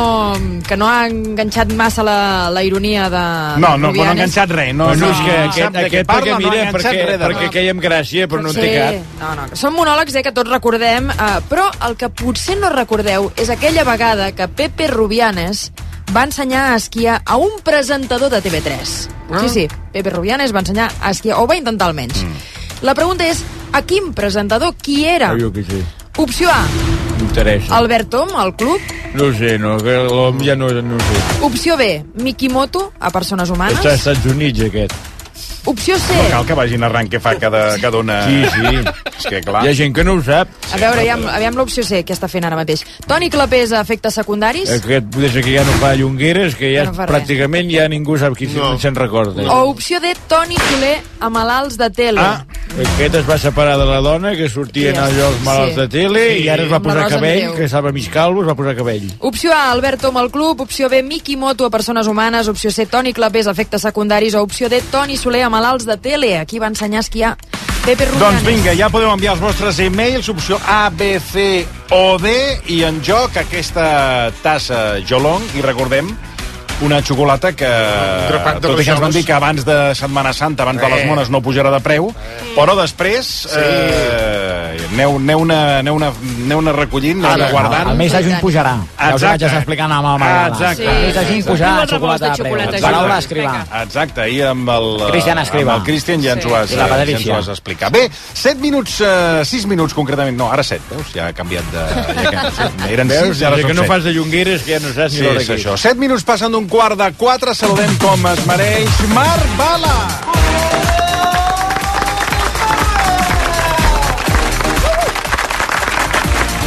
[SPEAKER 22] que no ha enganxat massa la, la ironia de...
[SPEAKER 20] No, no,
[SPEAKER 22] de
[SPEAKER 20] no ha
[SPEAKER 22] Ah, Rubianes.
[SPEAKER 20] enganxat res. No,
[SPEAKER 19] Bueno,
[SPEAKER 20] no,
[SPEAKER 19] és que aquest,
[SPEAKER 20] sap de què
[SPEAKER 19] aquest perquè,
[SPEAKER 20] parla, no ha
[SPEAKER 19] mira,
[SPEAKER 20] enganxat
[SPEAKER 19] perquè,
[SPEAKER 20] res de
[SPEAKER 19] perquè
[SPEAKER 20] res.
[SPEAKER 19] caiem gràcia, però no en té
[SPEAKER 22] Sí,
[SPEAKER 19] cap.
[SPEAKER 22] No, no, que són monòlegs eh, que tots recordem, eh, però el que potser no recordeu és aquella vegada que Pepe Rubianes va ensenyar a esquiar a un presentador de TV3.
[SPEAKER 23] Ah.
[SPEAKER 22] Sí, sí, Pepe Rubianes va ensenyar a esquiar, o va intentar almenys. Mm. La pregunta és, a quin presentador, qui era?
[SPEAKER 19] Ah, jo què sé.
[SPEAKER 22] Opció A,
[SPEAKER 19] M'interessa.
[SPEAKER 22] Albert Tom, al club.
[SPEAKER 19] No ho sé, no, que l'home ja no, no ho sé.
[SPEAKER 22] Opció B, Mikimoto, a persones humanes.
[SPEAKER 19] Està als Estats Units, aquest.
[SPEAKER 22] Opció C,
[SPEAKER 27] No cal que vagin arran què fa cada, cada una...
[SPEAKER 19] Sí, sí.
[SPEAKER 27] És que clar...
[SPEAKER 19] Hi ha gent que no ho sap.
[SPEAKER 22] a veure, aviam, aviam l'opció C, què està fent ara mateix. Toni Clapés, a efectes secundaris.
[SPEAKER 19] Aquest, des que ja no fa llongueres, que ja
[SPEAKER 22] Ja no fa res. Oh.
[SPEAKER 19] pràcticament ja ningú sap qui no. se'n recorda.
[SPEAKER 22] O opció D, Toni Soler, a malalts de tele. Ah,
[SPEAKER 19] Aquest es va separar de la dona que sortia en
[SPEAKER 22] Sí,
[SPEAKER 19] allò els malalts
[SPEAKER 22] sí.
[SPEAKER 19] de tele
[SPEAKER 22] Sí.
[SPEAKER 19] i ara es va
[SPEAKER 22] Amb la
[SPEAKER 19] posar
[SPEAKER 22] Rosa
[SPEAKER 19] cabell,
[SPEAKER 22] Andreu.
[SPEAKER 19] que estava mig calvo, es va posar cabell.
[SPEAKER 22] Opció A, Albert Tom al club. Opció B, Miqui Moto a persones humanes. Opció C, Toni Clapés a efectes secundaris. O opció D, Toni Soler a malalts de tele. Aquí va ensenyar a esquiar Pepe Rubianes.
[SPEAKER 20] Doncs vinga, ja podeu enviar els vostres e-mails, opció A, B, C o D, i en joc aquesta tassa Jolong, i recordem una xocolata que,
[SPEAKER 11] grapat de
[SPEAKER 20] tot i que ens van
[SPEAKER 11] rajoles.
[SPEAKER 20] dir que abans de Setmana Santa, abans de les
[SPEAKER 11] Eh.
[SPEAKER 20] mones, no pujarà de preu, però després eh, aneu, aneu, una, aneu, una, aneu una recollint, aneu una guardant.
[SPEAKER 1] El mes de juny pujarà. Ja us ho vaig
[SPEAKER 20] Exacte.
[SPEAKER 1] estar explicant amb el Marc.
[SPEAKER 20] Exacte.
[SPEAKER 1] El mes de juny
[SPEAKER 20] Exacte.
[SPEAKER 1] pujarà
[SPEAKER 20] Diu
[SPEAKER 1] la
[SPEAKER 20] el rebost
[SPEAKER 1] xocolata de
[SPEAKER 20] de
[SPEAKER 1] preu.
[SPEAKER 20] xocolata,
[SPEAKER 1] Paraula
[SPEAKER 20] Juli.
[SPEAKER 1] escriva.
[SPEAKER 20] Exacte, ahir amb el... eh,
[SPEAKER 1] Cristian Escriba.
[SPEAKER 20] Amb el Cristian ja ens ho has,
[SPEAKER 1] I la
[SPEAKER 20] eh, ja ens
[SPEAKER 1] Patricia.
[SPEAKER 20] ho has explicat. Bé, 7 minuts, eh, 6 minuts concretament. No, ara 7, veus? Ja ha canviat de... Ja, ca- eren
[SPEAKER 19] Veus?
[SPEAKER 20] 6, ara
[SPEAKER 19] Des
[SPEAKER 20] són
[SPEAKER 19] que no
[SPEAKER 20] 7.
[SPEAKER 19] fas de llongueres, que ja no saps
[SPEAKER 20] Sí,
[SPEAKER 19] ni l'hora
[SPEAKER 20] és
[SPEAKER 19] que
[SPEAKER 20] això. 7 minuts passen d'un quart de 4. Saludem com es mereix Marc Bala.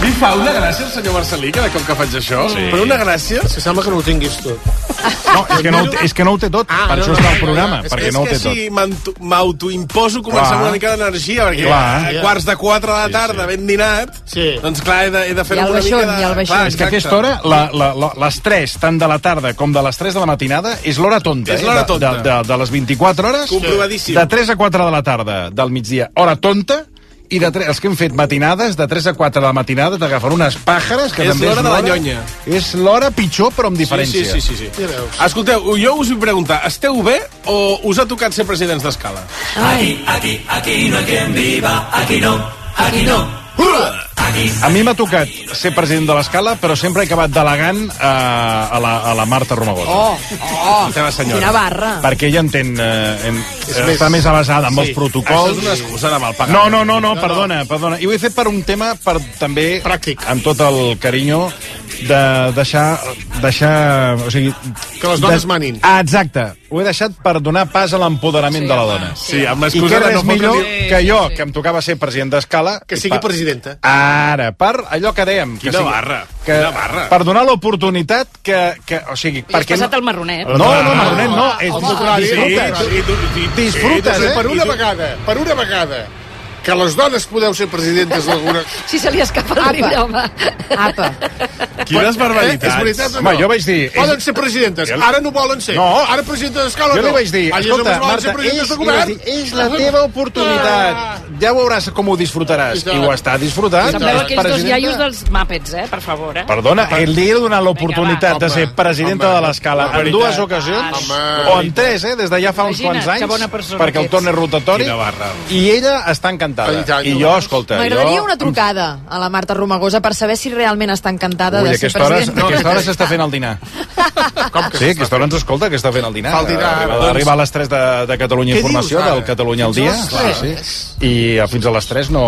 [SPEAKER 11] Li fa una gràcia el senyor Marcelí cada cop que faig això? Sí. Però una gràcia? Se sembla que no ho tinguis tot.
[SPEAKER 20] No, és que no, ho té- és que no ho té tot. Ah, per no, això està el programa,
[SPEAKER 11] És-
[SPEAKER 20] perquè
[SPEAKER 11] és
[SPEAKER 20] no ho
[SPEAKER 11] que
[SPEAKER 20] té tot.
[SPEAKER 11] si m'anto- m'autoimposo començar amb
[SPEAKER 20] Clar.
[SPEAKER 11] una mica d'energia, perquè
[SPEAKER 20] Clar.
[SPEAKER 11] a quarts de 4 de la tarda, ben dinat, doncs clar, he de, he de fer
[SPEAKER 22] I al
[SPEAKER 11] una
[SPEAKER 22] baixón,
[SPEAKER 11] mica de...
[SPEAKER 22] i al baixón.
[SPEAKER 11] Clar,
[SPEAKER 20] És que a
[SPEAKER 11] exacte.
[SPEAKER 20] aquesta hora, la, la, la, les 3, tant de la tarda com de les 3 de la matinada, és l'hora tonta.
[SPEAKER 11] És l'hora
[SPEAKER 20] eh? De-
[SPEAKER 11] tonta.
[SPEAKER 20] De, de, de, les 24 hores,
[SPEAKER 11] Comprovadíssim.
[SPEAKER 20] de 3 a 4 de la tarda del migdia, hora tonta, i de 3, els que hem fet matinades, de 3 a 4 de la matinada t'agafen unes pàjares que
[SPEAKER 11] És
[SPEAKER 20] també
[SPEAKER 11] l'hora de la nyonya.
[SPEAKER 20] És l'hora pitjor, però amb
[SPEAKER 11] Sí,
[SPEAKER 20] diferència.
[SPEAKER 11] sí, sí, sí, sí. Escolteu, jo us vull preguntar, esteu bé o us ha tocat ser presidents d'escala?
[SPEAKER 28] Aquí, aquí, aquí no hay quien viva, aquí no, aquí no.
[SPEAKER 20] A mi m'ha tocat ser president de l'escala, però sempre he acabat delegant eh, a, la, a la Marta Romagosa.
[SPEAKER 22] Oh, oh,
[SPEAKER 20] la teva senyora.
[SPEAKER 22] quina barra.
[SPEAKER 20] Perquè ella entén... Eh, en,
[SPEAKER 11] més-
[SPEAKER 20] està més avasada amb
[SPEAKER 11] Sí.
[SPEAKER 20] els protocols.
[SPEAKER 11] Això és una excusa de mal pagament.
[SPEAKER 20] No, no, no, no,
[SPEAKER 11] No, no.
[SPEAKER 20] perdona, perdona. I ho he fet per un tema per també... Pràctic. Amb tot el carinyo de deixar... deixar o sigui,
[SPEAKER 11] Que les dones manin.
[SPEAKER 20] Ah, exacte. Ho he deixat per donar pas a l'empoderament sí, de la dona.
[SPEAKER 11] sí, amb l'excusa
[SPEAKER 20] I que
[SPEAKER 11] de
[SPEAKER 20] res
[SPEAKER 11] no fotre-
[SPEAKER 20] millor
[SPEAKER 11] Sí,
[SPEAKER 20] que jo, que em tocava ser president d'escala...
[SPEAKER 11] Que
[SPEAKER 20] i
[SPEAKER 11] sigui presidenta.
[SPEAKER 20] Ara, per allò que dèiem. que
[SPEAKER 11] Quina barra,
[SPEAKER 20] Que,
[SPEAKER 11] quina barra.
[SPEAKER 20] Per donar l'oportunitat que, que... O sigui,
[SPEAKER 25] Has passat el marronet.
[SPEAKER 20] No, no, Marronet, no. És
[SPEAKER 11] Eh? Home,
[SPEAKER 20] disfrutes.
[SPEAKER 11] sí, tu- tu- tu-
[SPEAKER 20] Disfrutes,
[SPEAKER 11] sí, tu-
[SPEAKER 20] eh?
[SPEAKER 11] Per una
[SPEAKER 20] I tu-
[SPEAKER 11] vegada, per una vegada, que les dones podeu ser presidentes d'alguna...
[SPEAKER 25] Si se li escapa el
[SPEAKER 22] Apa.
[SPEAKER 25] llibre, home.
[SPEAKER 22] Apa.
[SPEAKER 11] Quines barbaritats. Eh? És veritat o no?
[SPEAKER 20] Home, jo vaig dir-
[SPEAKER 11] Poden ser presidentes, ara no volen ser.
[SPEAKER 20] No.
[SPEAKER 11] Ara presidentes d'escala
[SPEAKER 20] Jo
[SPEAKER 11] no.
[SPEAKER 20] li vaig dir,
[SPEAKER 11] Allà
[SPEAKER 20] escolta,
[SPEAKER 11] només volen ser
[SPEAKER 20] Marta, és,
[SPEAKER 11] presidentes de
[SPEAKER 20] li vaig
[SPEAKER 11] govern. Ah.
[SPEAKER 20] dir, és la teva oportunitat. Ja veuràs com ho disfrutaràs. I ho està disfrutant.
[SPEAKER 25] Sembleu aquells dos
[SPEAKER 20] Presidenta.
[SPEAKER 25] iaios dels Muppets, eh? Per favor, eh?
[SPEAKER 20] Perdona, ell li he donat l'oportunitat de ser presidenta de l'escala
[SPEAKER 11] la
[SPEAKER 20] en
[SPEAKER 11] veritat.
[SPEAKER 20] dues
[SPEAKER 25] Ah,
[SPEAKER 20] ocasions,
[SPEAKER 11] Home.
[SPEAKER 20] o en tres, eh, des de ja fa uns
[SPEAKER 25] Imagina't
[SPEAKER 20] quants
[SPEAKER 25] que bona
[SPEAKER 20] anys,
[SPEAKER 25] persona
[SPEAKER 20] perquè el
[SPEAKER 25] que
[SPEAKER 20] torn és rotatori,
[SPEAKER 11] Quina barra.
[SPEAKER 20] i ella està encantada. I jo, escolta,
[SPEAKER 22] M'agradaria
[SPEAKER 20] jo...
[SPEAKER 22] una trucada a la Marta Romagosa per saber si realment està encantada
[SPEAKER 20] Ui, a aquesta hora,
[SPEAKER 29] president.
[SPEAKER 20] a aquesta hora s'està fent el dinar. Com que sí, a aquesta hora ens escolta que està fent el dinar.
[SPEAKER 3] Fa el dinar,
[SPEAKER 20] Arriba,
[SPEAKER 3] doncs.
[SPEAKER 20] arriba a les 3 de, de Catalunya
[SPEAKER 3] Què
[SPEAKER 20] Informació,
[SPEAKER 3] dius, ara?
[SPEAKER 20] del Catalunya al
[SPEAKER 3] Fins
[SPEAKER 20] dia.
[SPEAKER 3] a les
[SPEAKER 20] Sí,
[SPEAKER 3] tres? Ah.
[SPEAKER 20] sí. I eh, fins a les 3 no...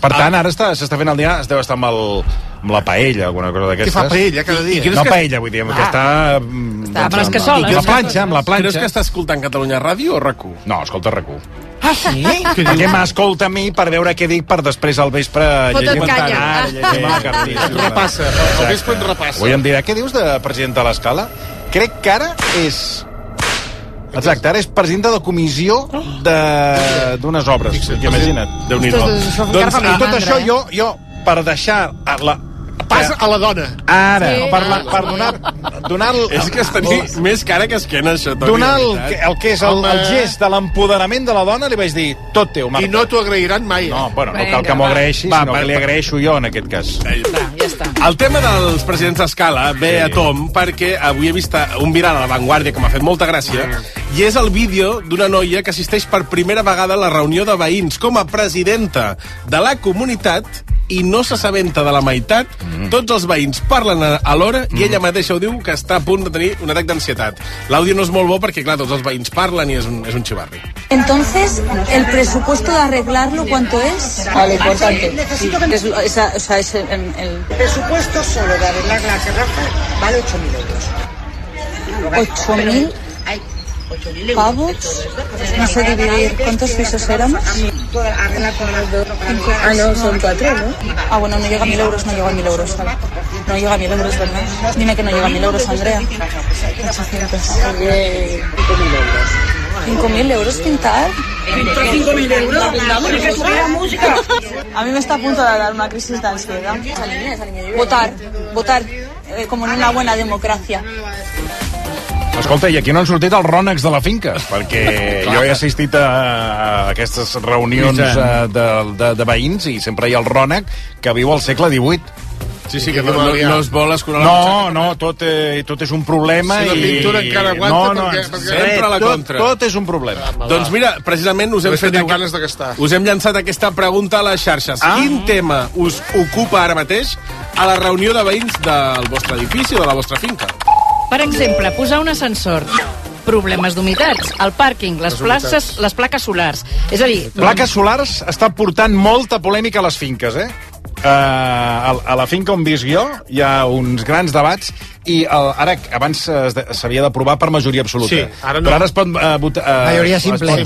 [SPEAKER 20] Per tant, ara està- s'està fent el dinar, es deu estar amb, el, amb la paella, alguna cosa d'aquestes.
[SPEAKER 3] fa paella cada dia?
[SPEAKER 20] I, i no que... paella, vull dir, amb
[SPEAKER 3] Ah.
[SPEAKER 20] que està... mm,
[SPEAKER 3] Està doncs, amb les cassoles.
[SPEAKER 20] Amb la planxa, amb la planxa.
[SPEAKER 3] Creus que
[SPEAKER 20] està escoltant Catalunya Ràdio o rac No, escolta rac
[SPEAKER 29] Ah, sí?
[SPEAKER 20] perquè m'escolta a mi per veure què dic per després al vespre
[SPEAKER 29] Fotut
[SPEAKER 20] llegir un
[SPEAKER 29] canya.
[SPEAKER 23] Ah.
[SPEAKER 20] tanar, llegir un cartell.
[SPEAKER 3] Et repassa.
[SPEAKER 20] Exacte.
[SPEAKER 3] Al vespre et repassa.
[SPEAKER 20] Avui em dirà, què dius de president de l'escala? Crec que ara és... Exacte, ara és president de la comissió de- d'unes obres. Imagina't.
[SPEAKER 3] Déu-n'hi-do. Ostres, això encara
[SPEAKER 20] Doncs
[SPEAKER 3] fa
[SPEAKER 20] amb
[SPEAKER 3] més
[SPEAKER 20] tot
[SPEAKER 3] mandra,
[SPEAKER 20] això
[SPEAKER 3] eh?
[SPEAKER 20] jo, jo per deixar a la...
[SPEAKER 3] Passa a la dona.
[SPEAKER 20] Ara,
[SPEAKER 3] Sí.
[SPEAKER 20] per, la, per donar... donar el,
[SPEAKER 3] És que es tenia
[SPEAKER 20] el-
[SPEAKER 3] més cara que esquena, això. Toni, de
[SPEAKER 20] Donar el,
[SPEAKER 3] Oh, veritat.
[SPEAKER 20] que- el que és el,
[SPEAKER 3] Home.
[SPEAKER 20] el gest de l'empoderament de la dona, li vaig dir, tot teu, Marta.
[SPEAKER 3] I no t'ho agrairan
[SPEAKER 23] eh?
[SPEAKER 3] mai.
[SPEAKER 20] No, bueno, no cal que m'ho agraeixi, sinó que li agraeixo jo, en aquest cas.
[SPEAKER 25] Ja està.
[SPEAKER 23] El tema dels presidents d'escala ve a tom perquè avui he vist un viral a La Vanguardia que m'ha fet molta gràcia
[SPEAKER 25] Mm.
[SPEAKER 23] i és el vídeo d'una noia que assisteix per primera vegada a la reunió de veïns com a presidenta de la comunitat i no s'assabenta de la meitat,
[SPEAKER 20] Mm.
[SPEAKER 23] tots els veïns parlen a- alhora i ella mateixa ho diu que està a punt de tenir un atac d'ansietat. L'àudio no és molt bo perquè, clar, tots els veïns parlen i és un, és un xivarri.
[SPEAKER 22] Entonces, ¿el presupuesto de arreglarlo cuánto es?
[SPEAKER 10] Vale, importante.
[SPEAKER 22] Necesito que...
[SPEAKER 10] Sí.
[SPEAKER 22] Ah, Es, lo- esa- o sea, es el, el-
[SPEAKER 10] presupuesto solo de arreglar la terraza vale 8.000 euros.
[SPEAKER 22] 8.000
[SPEAKER 10] Hay 8.000
[SPEAKER 22] pavos. No sé dividir. ¿Cuántos pisos éramos? Cinco. Ah, no, son cuatro, ¿no? Ah, bueno, no llega a 1.000 euros, no llega a 1.000 euros. vale. No llega a 1.000 euros, ¿verdad? Dime que no llega a 1.000 euros, Andrea. 800. 5.000 euros pintar.
[SPEAKER 10] 5.000 euros, pintamos, que sube la música.
[SPEAKER 22] A mí me está a punto de dar una crisis de ansiedad. Votar, votar eh, como en una buena democracia.
[SPEAKER 20] Escolta, i aquí no han sortit els rònecs de la finca, perquè jo he assistit a, a aquestes reunions
[SPEAKER 3] I tant.
[SPEAKER 20] eh, de, de, de veïns i sempre hi ha el rònec que viu al segle XVIII.
[SPEAKER 23] Sí, sí, que no, no, no es vol escurar la
[SPEAKER 20] No, no, tot, eh, tot és un problema
[SPEAKER 23] Si la
[SPEAKER 20] i...
[SPEAKER 23] pintura encara aguanta,
[SPEAKER 20] no, no,
[SPEAKER 23] perquè-
[SPEAKER 20] ens-
[SPEAKER 23] perquè sempre a la
[SPEAKER 20] tot,
[SPEAKER 23] contra.
[SPEAKER 20] Tot és un problema.
[SPEAKER 23] Doncs mira, precisament us hem,
[SPEAKER 20] Ves que
[SPEAKER 23] fet
[SPEAKER 20] tinc
[SPEAKER 23] ganes de gastar. us hem llançat aquesta pregunta a les xarxes. Ah? Quin tema us ocupa ara mateix a la reunió de veïns del vostre edifici o de la vostra finca?
[SPEAKER 25] Per exemple, posar un ascensor problemes d'humitats, el pàrquing, les,
[SPEAKER 20] Les humitats.
[SPEAKER 25] places, les plaques solars. És a dir...
[SPEAKER 20] Plaques solars està portant molta polèmica a les finques, eh? Uh, a, a la finca on visc jo hi ha uns grans debats i el, ara abans es de- s'havia d'aprovar per majoria absoluta.
[SPEAKER 17] Sí, ara no.
[SPEAKER 20] Però ara es pot... Uh, votar, uh,
[SPEAKER 17] Majoria
[SPEAKER 20] es
[SPEAKER 17] simple.
[SPEAKER 20] Pot,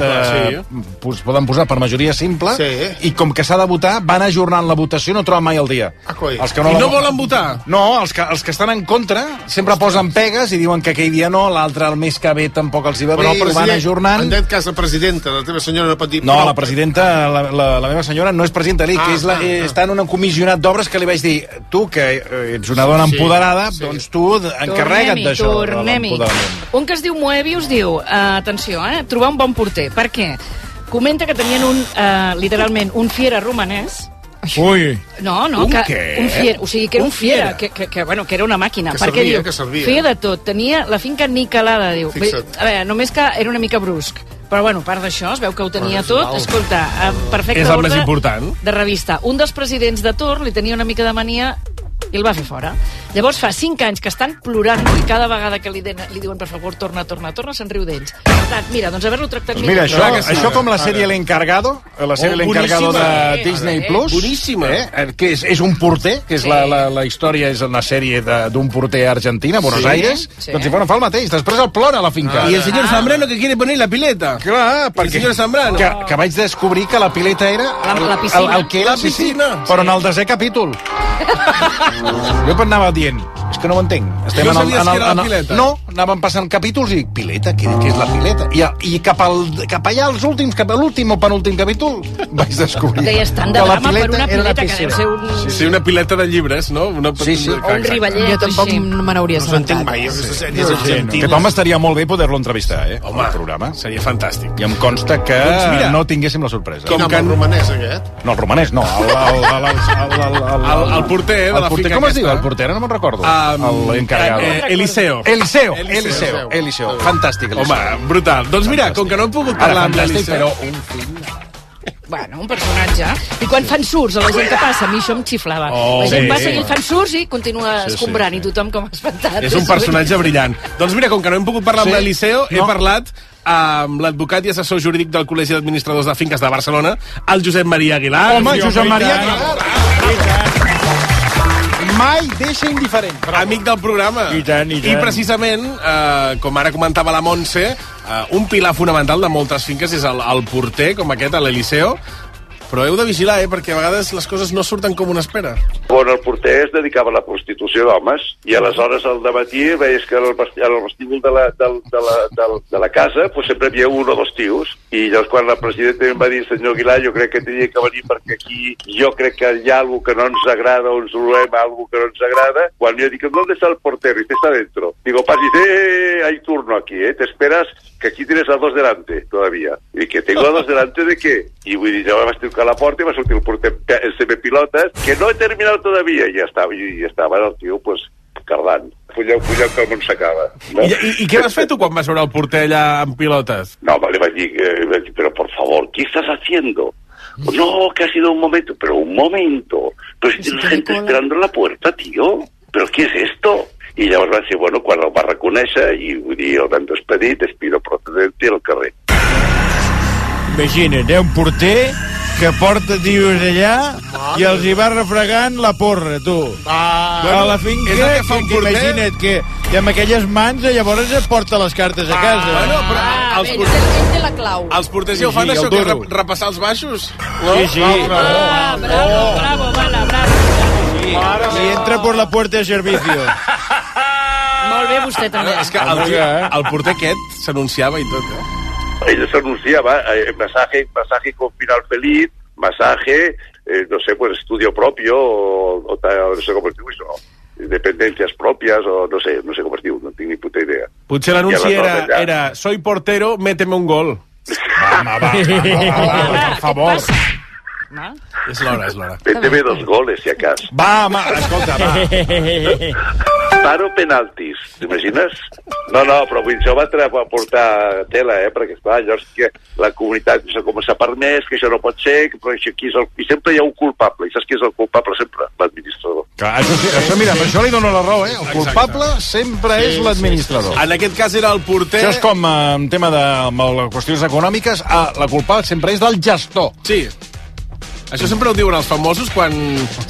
[SPEAKER 20] uh, pos, poden posar per majoria simple sí. i com que s'ha de votar van ajornant la votació no troben mai el dia. Ah, els
[SPEAKER 23] I
[SPEAKER 20] la
[SPEAKER 23] no
[SPEAKER 20] vo-
[SPEAKER 23] volen votar?
[SPEAKER 20] No, els que, els que estan en contra sempre posen pegues i diuen que aquell dia no, l'altre el mes que ve tampoc els hi va bé,
[SPEAKER 30] Però el
[SPEAKER 20] i ho van
[SPEAKER 30] president,
[SPEAKER 20] ajornant.
[SPEAKER 30] en aquest cas, la presidenta, la teva senyora no pot dir...
[SPEAKER 20] No,
[SPEAKER 30] prou.
[SPEAKER 20] la presidenta, la, la, la meva senyora, no és presidenta l'IC, ah,
[SPEAKER 30] Ah,
[SPEAKER 20] és la,
[SPEAKER 30] ah,
[SPEAKER 20] eh,
[SPEAKER 30] ah.
[SPEAKER 20] està en un comissionat d'obres que li vaig dir, tu, que eh, ets una dona
[SPEAKER 30] Sí,
[SPEAKER 20] empoderada, sí. doncs tu d- encarrega't
[SPEAKER 25] Tornem-hi,
[SPEAKER 20] d'això. de
[SPEAKER 25] tornem-hi.
[SPEAKER 20] l'empoderament.
[SPEAKER 25] Un que es diu Moebius diu, eh, atenció, eh, trobar un bon porter. Per què? Comenta que tenien un, eh, literalment, un fiera romanès,
[SPEAKER 19] Ui.
[SPEAKER 25] No, no,
[SPEAKER 19] Un
[SPEAKER 25] que,
[SPEAKER 19] què?
[SPEAKER 25] un fiera, o sigui, que era
[SPEAKER 19] Un
[SPEAKER 25] un fiera,
[SPEAKER 19] fiera?
[SPEAKER 25] que, que, que, bueno, que era una màquina.
[SPEAKER 19] Que
[SPEAKER 25] perquè
[SPEAKER 19] servia,
[SPEAKER 25] diu,
[SPEAKER 19] que servia.
[SPEAKER 25] Feia de tot, tenia la finca niquelada, diu. Bé,
[SPEAKER 19] Fixa't.
[SPEAKER 25] a veure, només que era una mica brusc. Però, bueno, a part d'això, es veu que ho tenia
[SPEAKER 23] Bueno,
[SPEAKER 25] tot.
[SPEAKER 23] sisplau.
[SPEAKER 25] Escolta, en perfecte
[SPEAKER 23] És el
[SPEAKER 25] ordre
[SPEAKER 23] més important.
[SPEAKER 25] de revista. Un dels presidents de Tor li tenia una mica de mania i el va fer fora. Llavors fa 5 anys que estan plorant i cada vegada que li, den, li diuen per favor torna, torna, torna, se'n riu d'ells. Per tant, mira, doncs haver-lo tractat
[SPEAKER 20] Doncs mira, això,
[SPEAKER 23] Clar que sí.
[SPEAKER 20] això com la
[SPEAKER 23] Ara.
[SPEAKER 20] sèrie L'Encargado, la sèrie
[SPEAKER 23] Oh,
[SPEAKER 20] L'Encargado de
[SPEAKER 23] boníssima. Eh,
[SPEAKER 20] Disney
[SPEAKER 23] eh,
[SPEAKER 20] Plus,
[SPEAKER 23] boníssima.
[SPEAKER 20] eh, que és, és un porter, que és la, la, la història, és una sèrie de- d'un porter a Argentina, a Buenos
[SPEAKER 23] Sí,
[SPEAKER 20] Aires,
[SPEAKER 23] sí.
[SPEAKER 20] doncs hi fa, no fa el mateix, després el plora a la finca.
[SPEAKER 23] Ah. I el senyor Zambrano que quiere poner la pileta.
[SPEAKER 20] Clar, perquè...
[SPEAKER 23] El senyor Zambrano.
[SPEAKER 20] Que, que vaig descobrir que la pileta era
[SPEAKER 23] La-
[SPEAKER 20] el,
[SPEAKER 23] la piscina.
[SPEAKER 20] el, el que era
[SPEAKER 23] La piscina.
[SPEAKER 20] però en el desè capítol. jo anava dient, és que no ho entenc.
[SPEAKER 23] No sabies que era la pileta?
[SPEAKER 20] No, anàvem passant capítols i dic, pileta, què, què és la pileta? I, a- i cap, al, cap allà, als últims, cap a l'últim o penúltim capítol, vaig descobrir
[SPEAKER 25] Deies tant de
[SPEAKER 20] que la
[SPEAKER 25] drama per
[SPEAKER 20] pileta
[SPEAKER 25] una
[SPEAKER 20] era
[SPEAKER 25] pileta, que deu ser un...
[SPEAKER 23] Sí, sí, una pileta de llibres, no? Una... Sí, sí.
[SPEAKER 20] O un rivaller,
[SPEAKER 29] Jo tampoc
[SPEAKER 25] així.
[SPEAKER 29] me n'hauria assabentat.
[SPEAKER 23] Oh,
[SPEAKER 20] No, sí, no. Que Tom estaria molt bé poder-lo entrevistar, eh? Home, al programa.
[SPEAKER 23] Seria fantàstic.
[SPEAKER 20] I em consta que
[SPEAKER 23] Doncs
[SPEAKER 20] doncs
[SPEAKER 23] mira,
[SPEAKER 20] no tinguéssim la sorpresa.
[SPEAKER 23] com que-
[SPEAKER 30] El romanès, aquest.
[SPEAKER 20] No, el romanès no, el, el, el, el, el, el,
[SPEAKER 23] El- el porter, eh, de
[SPEAKER 20] el
[SPEAKER 23] la
[SPEAKER 20] porter,
[SPEAKER 23] finca
[SPEAKER 20] com es
[SPEAKER 23] aquesta.
[SPEAKER 20] diu? El porter, ara no me'n recordo.
[SPEAKER 23] Um,
[SPEAKER 20] L'encarregat.
[SPEAKER 23] eh, eh, Eliseo.
[SPEAKER 20] Eliseo,
[SPEAKER 23] Eliseo.
[SPEAKER 20] Eliseo, Eliseo. Fantàstic,
[SPEAKER 23] Home,
[SPEAKER 20] Eliseo.
[SPEAKER 23] brutal. Doncs mira, com que no hem pogut
[SPEAKER 20] Ara
[SPEAKER 23] parlar amb
[SPEAKER 20] fantàstic,
[SPEAKER 23] l'Eliseo...
[SPEAKER 20] però un fill...
[SPEAKER 25] Bueno, un personatge. I quan fan surts a la gent que passa, a mi això em xiflava.
[SPEAKER 23] Oh,
[SPEAKER 25] la gent
[SPEAKER 23] sí.
[SPEAKER 25] passa i ell fan surts i continua
[SPEAKER 23] Sí, sí,
[SPEAKER 25] escombrant i tothom com espantat.
[SPEAKER 23] És un personatge brillant. Doncs mira, com que no hem pogut parlar sí?
[SPEAKER 25] Sí?
[SPEAKER 23] amb l'Eliseo, he
[SPEAKER 25] No.
[SPEAKER 23] parlat amb l'advocat i assessor jurídic del Col·legi d'Administradors de Finques de Barcelona, el Josep Maria Aguilar.
[SPEAKER 20] Home, Josep Maria
[SPEAKER 23] Mai deixa indiferent. Amic del programa. I, tant, i, tant. I precisament, eh, com ara comentava la Montse, eh, un pilar fonamental de moltes finques és el, el porter, com aquest, a l'Eliseo, però heu de vigilar, eh, perquè a vegades les coses no surten com una espera.
[SPEAKER 31] Bueno, el porter es dedicava a la prostitució d'homes i aleshores al dematí veies que al vesti- al vestíbul de la, del, de la, del, de la casa pues, sempre hi havia un o dos tios i llavors quan la presidenta em va dir senyor Aguilar jo crec que tenia que venir perquè aquí jo crec que hi ha alguna que no ens agrada o ens trobem alguna que no ens agrada quan jo dic ¿dónde está el portero? i te está dentro digo pas dice eh, eh, hay turno aquí eh? te esperas que aquí tienes a dos delante todavía i que tengo a dos delante de què? i vull dir, jo vaig trucar a la porta i va sortir el porter pe- el semipilotes que no he terminat todavía i ja estava, i ja estava el tio pues, cardant Fulleu, fulleu, que pues el món s'acaba. No?
[SPEAKER 23] I, i, I què vas fer tu quan vas veure el porter allà amb pilotes?
[SPEAKER 31] No, le va a decir, eh, va a decir, pero por favor, ¿qué estás haciendo? No, que ha sido un momento, pero un momento. Pero si tienes gente esperando en la puerta, tío. ¿Pero qué es esto? I llavors va ser, bueno, quan el va reconèixer i, vull dir, el vam despedir, despido procedente al carrer.
[SPEAKER 19] Imagina't, eh, un porter que porta tios allà i els hi va refregant la porra, tu. Ah, a la finca,
[SPEAKER 23] és el que fa un porter.
[SPEAKER 19] imagina't que i amb aquelles mans eh, llavors es porta les cartes a casa. Ah, bueno, però...
[SPEAKER 23] Ah, els,
[SPEAKER 22] Ell,
[SPEAKER 23] porters,
[SPEAKER 22] té- ell té la clau.
[SPEAKER 23] els porters ja ho
[SPEAKER 19] Sí,
[SPEAKER 23] fan,
[SPEAKER 19] sí,
[SPEAKER 23] això
[SPEAKER 19] el
[SPEAKER 23] que
[SPEAKER 19] duro.
[SPEAKER 23] re- repassar els baixos? Oh.
[SPEAKER 19] Sí, sí.
[SPEAKER 23] Bravo,
[SPEAKER 19] Ah,
[SPEAKER 23] bravo,
[SPEAKER 25] bravo, bravo,
[SPEAKER 19] bravo. Si entra por la puerta de servicio.
[SPEAKER 25] Molt bé, vostè també.
[SPEAKER 23] És que el, el porter aquest s'anunciava i tot, eh?
[SPEAKER 31] Ella s'anunciava, eh, masaje, masaje con final feliz, masaje, eh, no sé, pues estudio propio, o, o tal, no sé com es diu això, dependencias propias, o no sé, no sé com es diu, no tinc ni puta idea.
[SPEAKER 23] Potser
[SPEAKER 31] I
[SPEAKER 23] l'anunci
[SPEAKER 31] aleshores
[SPEAKER 23] era,
[SPEAKER 31] ja-
[SPEAKER 23] era soy portero, méteme un gol. Home, va,
[SPEAKER 31] va,
[SPEAKER 23] per favor. És l'hora, és l'hora.
[SPEAKER 31] Méteme dos goles, si acas.
[SPEAKER 23] Va, home, escolta,
[SPEAKER 31] Paro penaltis, t'imagines? No, no, però vull dir, això va tra- va portar tela, eh? Perquè, esclar, llavors que la comunitat no sé com s'ha permès, que això no pot ser, que però això aquí és el... I sempre hi ha un culpable, i saps qui és el culpable sempre? L'administrador.
[SPEAKER 20] Clar, això, sí, això, mira, amb això li dono la raó, eh? El culpable sempre
[SPEAKER 31] Sí,
[SPEAKER 20] és
[SPEAKER 31] sí,
[SPEAKER 20] l'administrador.
[SPEAKER 23] En aquest cas era el porter...
[SPEAKER 20] Això és com eh, en tema de amb les qüestions econòmiques, eh, la culpa sempre és del gestor.
[SPEAKER 23] Sí. Això sempre ho diuen els famosos quan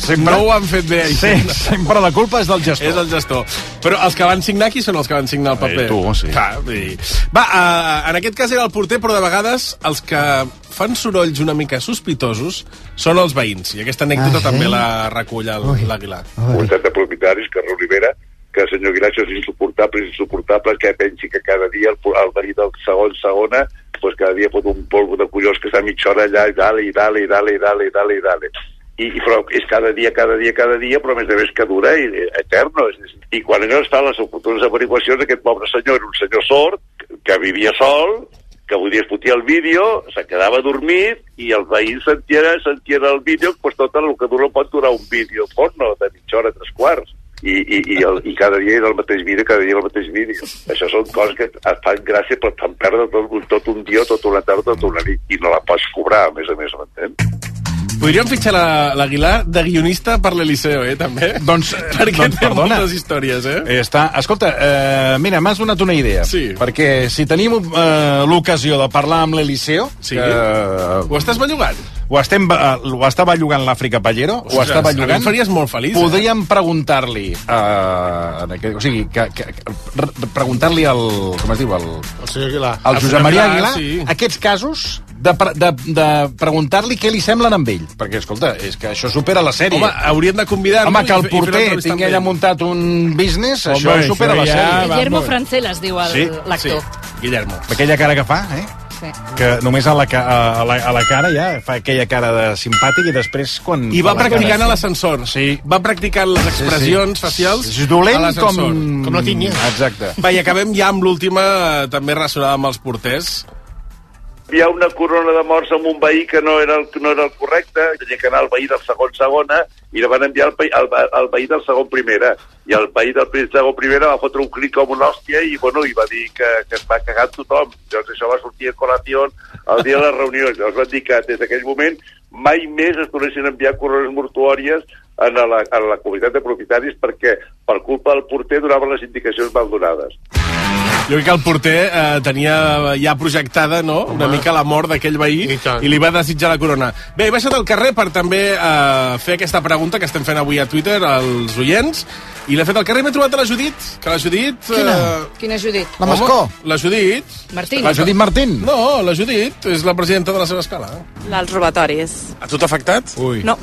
[SPEAKER 23] sempre? no ho han fet bé.
[SPEAKER 20] Sí, sempre la culpa és del gestor.
[SPEAKER 23] És el gestor. Però els que van signar, qui són els que van signar el paper?
[SPEAKER 20] Eh, tu, sí.
[SPEAKER 23] Clar, vull dir. Va, eh, en aquest cas era el porter, però de vegades els que fan sorolls una mica sospitosos són els veïns. I aquesta anècdota
[SPEAKER 31] Ah, sí?
[SPEAKER 23] també la recull el- l'Aguilar.
[SPEAKER 31] comunitat de propietaris, carrer Olivera, que el senyor Aguilar això és insuportable, és insuportable, que pensi que cada dia el, po- el veí del segon, segona, pues cada dia pot un polvo de collons que està mitja hora allà i dale, i dale, i dale, i dale, i dale, i dale. I, i però és cada dia, cada dia, cada dia, però a més de més que dura i eh, eterno. És- és- I quan allò es fan les oportunes averiguacions, aquest pobre senyor era un senyor sord, que- que vivia sol, que avui dia es fotia el vídeo, se quedava dormit i el veí sentia, sentia el vídeo, doncs tot el que dura pot durar un vídeo porno de mitja hora, tres quarts. I, i, i, el, i cada dia era el mateix vídeo, cada dia era el mateix vídeo. Això són coses que et fan gràcia però et fan perdre tot, un- tot un dia, tot una tarda, tot una nit. I no la pots cobrar, a més a més, m'entens?
[SPEAKER 23] Podríem fitxar la- l'Aguilar de guionista per l'Eliseo, eh, també?
[SPEAKER 20] Doncs,
[SPEAKER 23] Perquè
[SPEAKER 20] doncs,
[SPEAKER 23] té
[SPEAKER 20] perdona.
[SPEAKER 23] moltes històries, eh?
[SPEAKER 20] Està, escolta, eh, mira, m'has donat una idea.
[SPEAKER 23] Sí.
[SPEAKER 20] Perquè si tenim eh, l'ocasió de parlar amb l'Eliseo...
[SPEAKER 23] Sí.
[SPEAKER 20] Que...
[SPEAKER 23] Ho estàs bellugant?
[SPEAKER 20] Ho, estem, ba- eh, ho està bellugant l'Àfrica Pallero, ho
[SPEAKER 23] Ostres,
[SPEAKER 20] està
[SPEAKER 23] a mi
[SPEAKER 20] bellugant...
[SPEAKER 23] em faries molt feliç, eh?
[SPEAKER 20] Podríem preguntar-li... Eh, en aquest, o sigui, que, que, que re- preguntar-li al... Com es diu? Al,
[SPEAKER 11] El senyor Aguilar.
[SPEAKER 20] al Josep Maria Aguilar sí.
[SPEAKER 11] Sí.
[SPEAKER 20] aquests casos de, pre- de, de preguntar-li què li semblen amb ell. Perquè, escolta, és que això supera la sèrie.
[SPEAKER 23] Home, hauríem de convidar-lo
[SPEAKER 20] Home, que
[SPEAKER 23] i
[SPEAKER 20] el
[SPEAKER 23] fer- i fer una
[SPEAKER 20] porter
[SPEAKER 23] entrevista
[SPEAKER 20] tingui
[SPEAKER 23] amb
[SPEAKER 20] allà
[SPEAKER 23] ell.
[SPEAKER 20] muntat un business,
[SPEAKER 23] Home,
[SPEAKER 20] això
[SPEAKER 23] això
[SPEAKER 20] supera la
[SPEAKER 23] ja
[SPEAKER 20] sèrie.
[SPEAKER 25] Guillermo Francela es diu el- l'actor.
[SPEAKER 23] Guillermo.
[SPEAKER 20] Aquella cara que fa, eh?
[SPEAKER 25] Sí.
[SPEAKER 20] Que només a la, ca- a, a la, a la cara ja fa aquella cara de simpàtic i després quan...
[SPEAKER 23] I va
[SPEAKER 20] quan
[SPEAKER 23] practicant
[SPEAKER 20] cara-
[SPEAKER 23] a l'ascensor.
[SPEAKER 20] Sí.
[SPEAKER 23] Va practicant les expressions
[SPEAKER 20] Sí, sí.
[SPEAKER 23] facials
[SPEAKER 20] És dolent
[SPEAKER 23] a l'ascensor.
[SPEAKER 20] com- Eh, Com la tinya. Exacte.
[SPEAKER 23] Va, i acabem ja amb l'última, eh, també relacionada amb els porters.
[SPEAKER 31] hi ha una corona de morts amb un veí que no era el, no era el correcte, tenia que anar al veí del segon segona, i la van enviar al, pe- al, al veí del segon primera. I el veí del primer- segon primera va fotre un crit com una hòstia i, bueno, i va dir que, que es va cagar en tothom. Llavors això va sortir a col·lació el dia de la reunió. Llavors van dir que des d'aquell moment mai més es tornessin a enviar corones mortuòries en la, en la comunitat de propietaris perquè per culpa del porter donaven les indicacions mal donades.
[SPEAKER 23] Jo crec que el porter eh, tenia ja projectada no? una mica la mort d'aquell veí I, i li va desitjar la corona. Bé, he baixat al carrer per també eh, fer aquesta pregunta que estem fent avui a Twitter als oients i l'he fet al carrer i m'he trobat a la Judit, que la Judit...
[SPEAKER 25] Quina?
[SPEAKER 23] eh,
[SPEAKER 25] Quina Judit?
[SPEAKER 23] home, La Judit.
[SPEAKER 25] Martín.
[SPEAKER 23] Martín? No, la Judit és la presidenta de la seva escala.
[SPEAKER 32] dels robatoris.
[SPEAKER 23] A tu t'ha afectat? Ui.
[SPEAKER 32] No,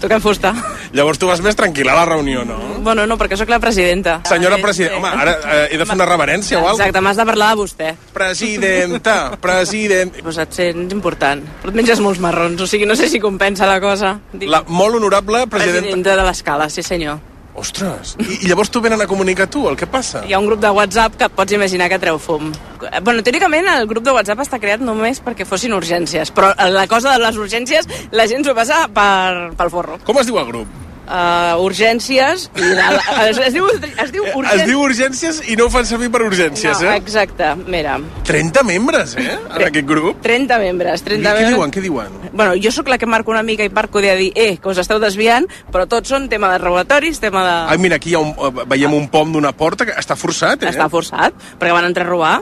[SPEAKER 32] toquem fusta.
[SPEAKER 23] Llavors tu vas més tranquil·la a la reunió, no?
[SPEAKER 32] Bueno, no, perquè sóc la presidenta.
[SPEAKER 23] Senyora presidenta, home, ara eh, he de fer una reverència o alguna
[SPEAKER 32] Exacte, m'has de parlar de vostè.
[SPEAKER 23] Presidenta, president...
[SPEAKER 32] Pues et sents important. Però et menges molts marrons, o sigui, no sé si compensa la cosa. Dic,
[SPEAKER 23] La molt honorable presidenta...
[SPEAKER 32] presidenta de l'escala, sí senyor.
[SPEAKER 23] Ostres, i, i llavors tu venen a comunicar tu, el que passa?
[SPEAKER 32] Hi ha un grup de WhatsApp que et pots imaginar que treu fum. Eh, Bueno, teòricament el grup de WhatsApp està creat només perquè fossin urgències, però la cosa de les urgències la gent s'ho passa per, pel forro.
[SPEAKER 23] Com es diu el grup?
[SPEAKER 32] Uh, urgències... I la, es, es, diu, es diu urgències...
[SPEAKER 23] Es diu urgències i no ho fan servir per urgències,
[SPEAKER 32] no,
[SPEAKER 23] eh?
[SPEAKER 32] Exacte, mira,
[SPEAKER 23] 30 membres, eh, en aquest grup.
[SPEAKER 32] 30 membres,
[SPEAKER 23] I
[SPEAKER 32] 30
[SPEAKER 23] què
[SPEAKER 32] membres...
[SPEAKER 23] diuen, què diuen?
[SPEAKER 32] Bueno, jo sóc la que marco una mica i marco de dir, eh, que us esteu desviant, però tots són tema de robatoris, tema de...
[SPEAKER 23] Ai, mira, aquí hi ha un, eh, veiem un pom d'una porta que està forçat, eh?
[SPEAKER 32] Està forçat, perquè van entrar a robar.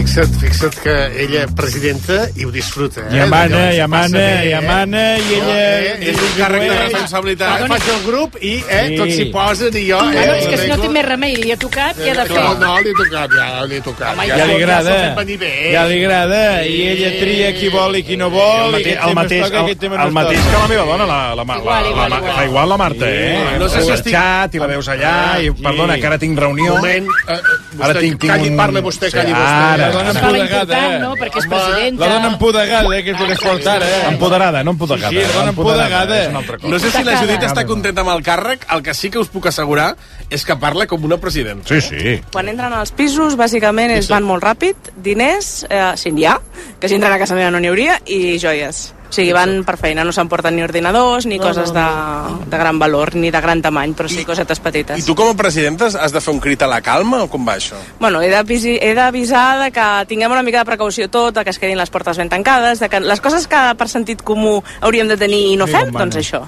[SPEAKER 17] Fixa't, fixa't que ella presidenta i ho disfruta. Eh?
[SPEAKER 19] I emana,
[SPEAKER 17] Allò que
[SPEAKER 19] i
[SPEAKER 17] passa
[SPEAKER 19] emana,
[SPEAKER 17] bé,
[SPEAKER 19] i
[SPEAKER 17] eh?
[SPEAKER 19] emana, i ella-
[SPEAKER 17] Eh, és un càrrec de
[SPEAKER 19] Eh,
[SPEAKER 17] responsabilitat.
[SPEAKER 19] perdoni.
[SPEAKER 17] Faig el grup i eh,
[SPEAKER 19] Sí.
[SPEAKER 17] tots s'hi posen i jo...
[SPEAKER 23] eh,
[SPEAKER 25] Claro, és que si Ah, no té
[SPEAKER 17] arreglo.
[SPEAKER 25] més remei, li ha tocat, què ha de fer?
[SPEAKER 17] Clar, No, li he tocat, ja, li he tocat.
[SPEAKER 19] ja, ja li agrada,
[SPEAKER 17] s'ha fet venir bé.
[SPEAKER 19] ja li agrada, i ella tria qui vol i qui no vol, i aquest
[SPEAKER 20] el
[SPEAKER 19] tema es
[SPEAKER 20] mateix,
[SPEAKER 19] toca,
[SPEAKER 20] el,
[SPEAKER 19] aquest tema no
[SPEAKER 20] el
[SPEAKER 19] es
[SPEAKER 20] mateix
[SPEAKER 19] toca.
[SPEAKER 20] que la meva dona, la, la, igual, la, igual, la, igual. la, igual la Marta, eh?
[SPEAKER 17] no sé si
[SPEAKER 20] Al
[SPEAKER 17] estic-
[SPEAKER 20] xat, i la veus allà, i perdona, que ara tinc reunió.
[SPEAKER 17] Moment, eh, eh, vostè,
[SPEAKER 20] Ara tinc- tinc
[SPEAKER 17] calli,
[SPEAKER 20] un-
[SPEAKER 17] parla vostè,
[SPEAKER 20] Sí,
[SPEAKER 17] calli
[SPEAKER 20] ara.
[SPEAKER 17] vostè.
[SPEAKER 20] La dona
[SPEAKER 25] Estava important, no?, perquè és presidenta.
[SPEAKER 19] La dona empodegada, eh, que és el que es porta ara, eh?
[SPEAKER 20] Empoderada, no empoderada.
[SPEAKER 19] Sí, sí, la dona empodegada.
[SPEAKER 20] És una altra cosa.
[SPEAKER 23] eh. No sé si la Judit està
[SPEAKER 20] Ah,
[SPEAKER 23] contenta amb el càrrec, el que sí que us puc assegurar és que parla com una presidenta.
[SPEAKER 20] Sí, sí.
[SPEAKER 32] Quan entren als pisos, bàsicament, es van molt ràpid, diners, eh, si n'hi ha, que si entren a casa meva no n'hi hauria, i joies. O sigui, van per feina, no s'emporten ni ordinadors, ni
[SPEAKER 25] No,
[SPEAKER 32] coses
[SPEAKER 25] no,
[SPEAKER 32] de, de gran valor, ni de gran tamany, però sí cosetes petites.
[SPEAKER 23] I tu com a presidenta has de fer un crit a la calma o com va això?
[SPEAKER 32] Bueno, he d'avisi- he d'avisar de que tinguem una mica de precaució tot, de que es quedin les portes ben tancades, de que les coses que per sentit comú hauríem de tenir i no fem, doncs això.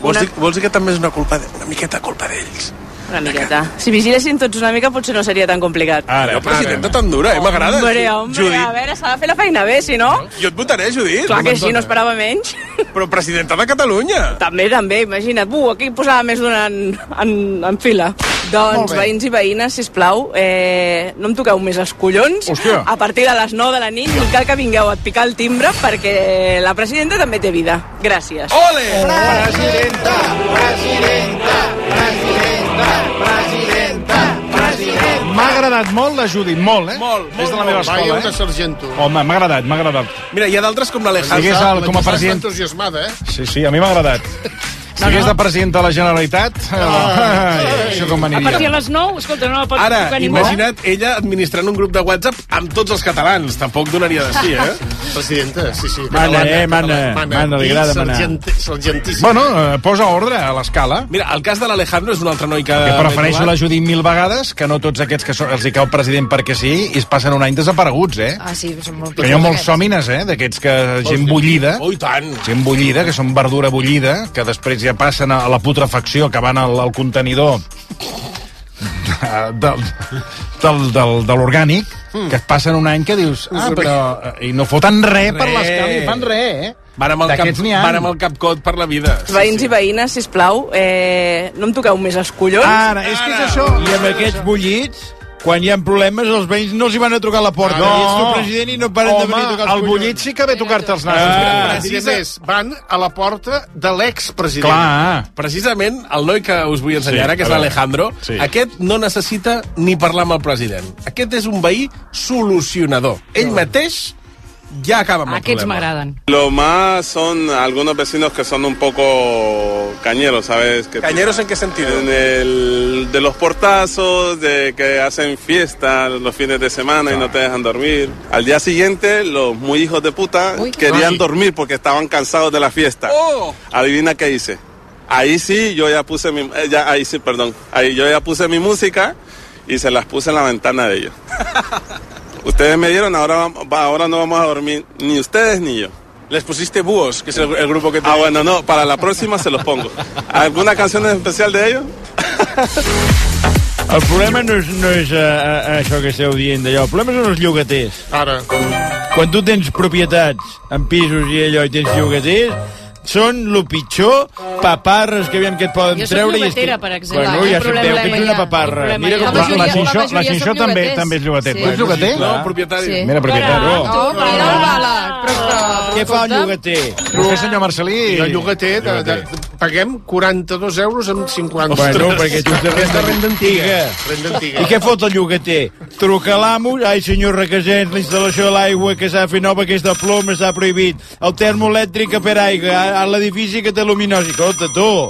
[SPEAKER 23] Vols
[SPEAKER 32] Una-
[SPEAKER 23] dir, vols dir que també és una culpa de, una miqueta culpa d'ells?
[SPEAKER 32] Una miqueta. Si vigilessin tots una mica potser no seria tan complicat.
[SPEAKER 23] Ara, presidenta tan dura, eh? M'agrada.
[SPEAKER 32] Hombre, hombre, a
[SPEAKER 23] Judit,
[SPEAKER 32] veure, s'ha de fer la feina bé, si no...
[SPEAKER 23] jo et votaré, Judit.
[SPEAKER 32] Clar que sí, no esperava menys.
[SPEAKER 23] Però presidenta de Catalunya.
[SPEAKER 32] També, també, imagina't. Bu, aquí posava més d'una en, en, en fila.
[SPEAKER 23] Molt
[SPEAKER 32] Doncs,
[SPEAKER 23] bé.
[SPEAKER 32] veïns i veïnes, si plau, eh, no em toqueu més els collons.
[SPEAKER 23] Hòstia.
[SPEAKER 32] A partir de les 9 de la nit, ni cal que vingueu a picar el timbre, perquè la presidenta també té vida. Gràcies.
[SPEAKER 23] Ole!
[SPEAKER 17] Presidenta, presidenta, presidenta, presidenta, presidenta.
[SPEAKER 20] M'ha agradat molt la Judit, molt, eh?
[SPEAKER 23] Molt,
[SPEAKER 20] És de la meva
[SPEAKER 17] Vaya
[SPEAKER 20] escola,
[SPEAKER 17] una
[SPEAKER 20] eh?
[SPEAKER 17] sargento.
[SPEAKER 20] Home, m'ha agradat, m'ha agradat.
[SPEAKER 23] Mira, hi ha d'altres com l'Alejandro.
[SPEAKER 20] Digues el, com a
[SPEAKER 17] Estàs
[SPEAKER 20] president...
[SPEAKER 17] entusiasmada, eh?
[SPEAKER 20] Sí, sí, a mi m'ha agradat. Si hagués de president de la Generalitat, ai, això com
[SPEAKER 25] A partir de
[SPEAKER 20] aniria.
[SPEAKER 25] les 9, escolta, no la pot
[SPEAKER 23] Ara,
[SPEAKER 25] tocar ningú.
[SPEAKER 23] imagina't ella administrant un grup de WhatsApp amb tots els catalans. Tampoc donaria de sí, eh?
[SPEAKER 17] Presidenta, sí, sí.
[SPEAKER 20] Mana,
[SPEAKER 17] catalana,
[SPEAKER 20] eh, mana,
[SPEAKER 17] catalana,
[SPEAKER 20] mana, li
[SPEAKER 17] I
[SPEAKER 20] agrada manar.
[SPEAKER 17] sargent- Sargentíssima.
[SPEAKER 20] Bueno, eh, posa ordre a l'escala.
[SPEAKER 23] Mira, el cas de l'Alejandro és un altre noi que...
[SPEAKER 20] Que prefereixo
[SPEAKER 23] m'he
[SPEAKER 20] la
[SPEAKER 23] trobat.
[SPEAKER 20] Judit mil vegades que no tots aquests que so, els hi cau president perquè sí i es passen un any desapareguts, eh?
[SPEAKER 33] Ah, sí, són molt
[SPEAKER 20] Que hi ha molts sòmines, eh? D'aquests que gent bullida,
[SPEAKER 23] Oh, i tant.
[SPEAKER 20] gent bullida, que són verdura bullida, que després ja passen a la putrefacció, que van al, al contenidor de, del, del, del, de l'orgànic,
[SPEAKER 23] Hmm.
[SPEAKER 20] que es passen un any que dius, ah, però... eh, I no foten res per
[SPEAKER 23] Res.
[SPEAKER 20] l'escala, i fan res, eh?
[SPEAKER 23] Van amb el cap,
[SPEAKER 20] D'aquests n'hi ha.
[SPEAKER 23] van amb el capcot per la vida.
[SPEAKER 32] Sí, Veïns sí. i veïnes, si plau, eh, no em toqueu més els collons.
[SPEAKER 20] Ara, és que és això.
[SPEAKER 19] I amb aquests bullits, quan hi ha problemes, els veïns no els hi van a trucar a la porta.
[SPEAKER 20] No.
[SPEAKER 19] No. I ets tu president i no paren de venir a tocar els
[SPEAKER 20] el bullit sí que ve a tocar-te els
[SPEAKER 19] Ah.
[SPEAKER 20] nassos.
[SPEAKER 17] Precisa... més, van a la porta de l'expresident.
[SPEAKER 20] Clar.
[SPEAKER 23] Precisament, el noi que us vull ensenyar
[SPEAKER 20] Sí,
[SPEAKER 23] sí, ara, que és
[SPEAKER 20] a veure.
[SPEAKER 23] l'Alejandro,
[SPEAKER 20] Sí.
[SPEAKER 23] sí. aquest no necessita ni parlar amb el president. Aquest és un veí solucionador. Ell mateix ya acabamos.
[SPEAKER 25] Ah, Aquests m'agraden.
[SPEAKER 34] Lo más son algunos vecinos que son un poco cañeros, ¿sabes? Que
[SPEAKER 23] ¿Cañeros en qué sentido?
[SPEAKER 34] En el, de los portazos, de que hacen fiestas los fines de semana y no te dejan dormir. Al día siguiente, los muy hijos de puta querían
[SPEAKER 23] Ay.
[SPEAKER 34] dormir porque estaban cansados de la fiesta.
[SPEAKER 23] Oh.
[SPEAKER 34] Adivina qué hice. Ahí sí, yo ya puse mi, eh, ya, ahí sí, perdón, ahí yo ya puse mi música y se las puse en la ventana de ellos. Ustedes me dieron, ahora, vam- va- ahora no vamos a dormir ni ustedes ni yo.
[SPEAKER 23] Les pusiste búhos, que es el, el grupo que
[SPEAKER 34] Ah, bueno, no, para la próxima se los pongo. ¿Alguna canción en especial de ellos?
[SPEAKER 19] El problema no és, no és a, a, a això que esteu dient d'allò, el problema són els llogaters.
[SPEAKER 11] Ara.
[SPEAKER 19] Quan tu tens propietats en pisos i allò i tens llogaters, són lo pitjor paparres que aviam que et poden
[SPEAKER 25] Jo soc
[SPEAKER 19] treure.
[SPEAKER 25] llogatera, per exemple.
[SPEAKER 19] Bueno,
[SPEAKER 25] Quin
[SPEAKER 19] ja sabeu
[SPEAKER 25] problema
[SPEAKER 19] que ets
[SPEAKER 25] hi ha?
[SPEAKER 19] una paparra.
[SPEAKER 25] Quin problema
[SPEAKER 19] Mira
[SPEAKER 25] hi ha?
[SPEAKER 19] com
[SPEAKER 25] La
[SPEAKER 19] la, la,
[SPEAKER 25] majoria- la
[SPEAKER 19] xinxó, la
[SPEAKER 25] majoria
[SPEAKER 19] xinxó
[SPEAKER 25] som
[SPEAKER 19] també,
[SPEAKER 25] llogaters.
[SPEAKER 19] també és llogater.
[SPEAKER 25] Sí.
[SPEAKER 19] Bueno,
[SPEAKER 25] Ets llogater?
[SPEAKER 19] clar.
[SPEAKER 25] No, propietari. Sí.
[SPEAKER 19] Mira, propietari.
[SPEAKER 25] Caram,
[SPEAKER 19] Oh.
[SPEAKER 25] tu, mira el bala.
[SPEAKER 19] Què fa el llogater?
[SPEAKER 11] Vostè, senyor Marcelí... Jo llogater, de, de, paguem 42 euros amb 50.
[SPEAKER 19] Bueno, perquè tu ets de
[SPEAKER 11] És
[SPEAKER 19] renda
[SPEAKER 11] renda antiga.
[SPEAKER 19] antiga.
[SPEAKER 11] Renda antiga.
[SPEAKER 19] I què fot el llogater? Truca a l'amo, ai senyor Requesens, la instal·lació de l'aigua que s'ha fet nova, que és de plom, està prohibit. El termoelèctric a per aigua, a, a l'edifici que té luminosi. Escolta, tu,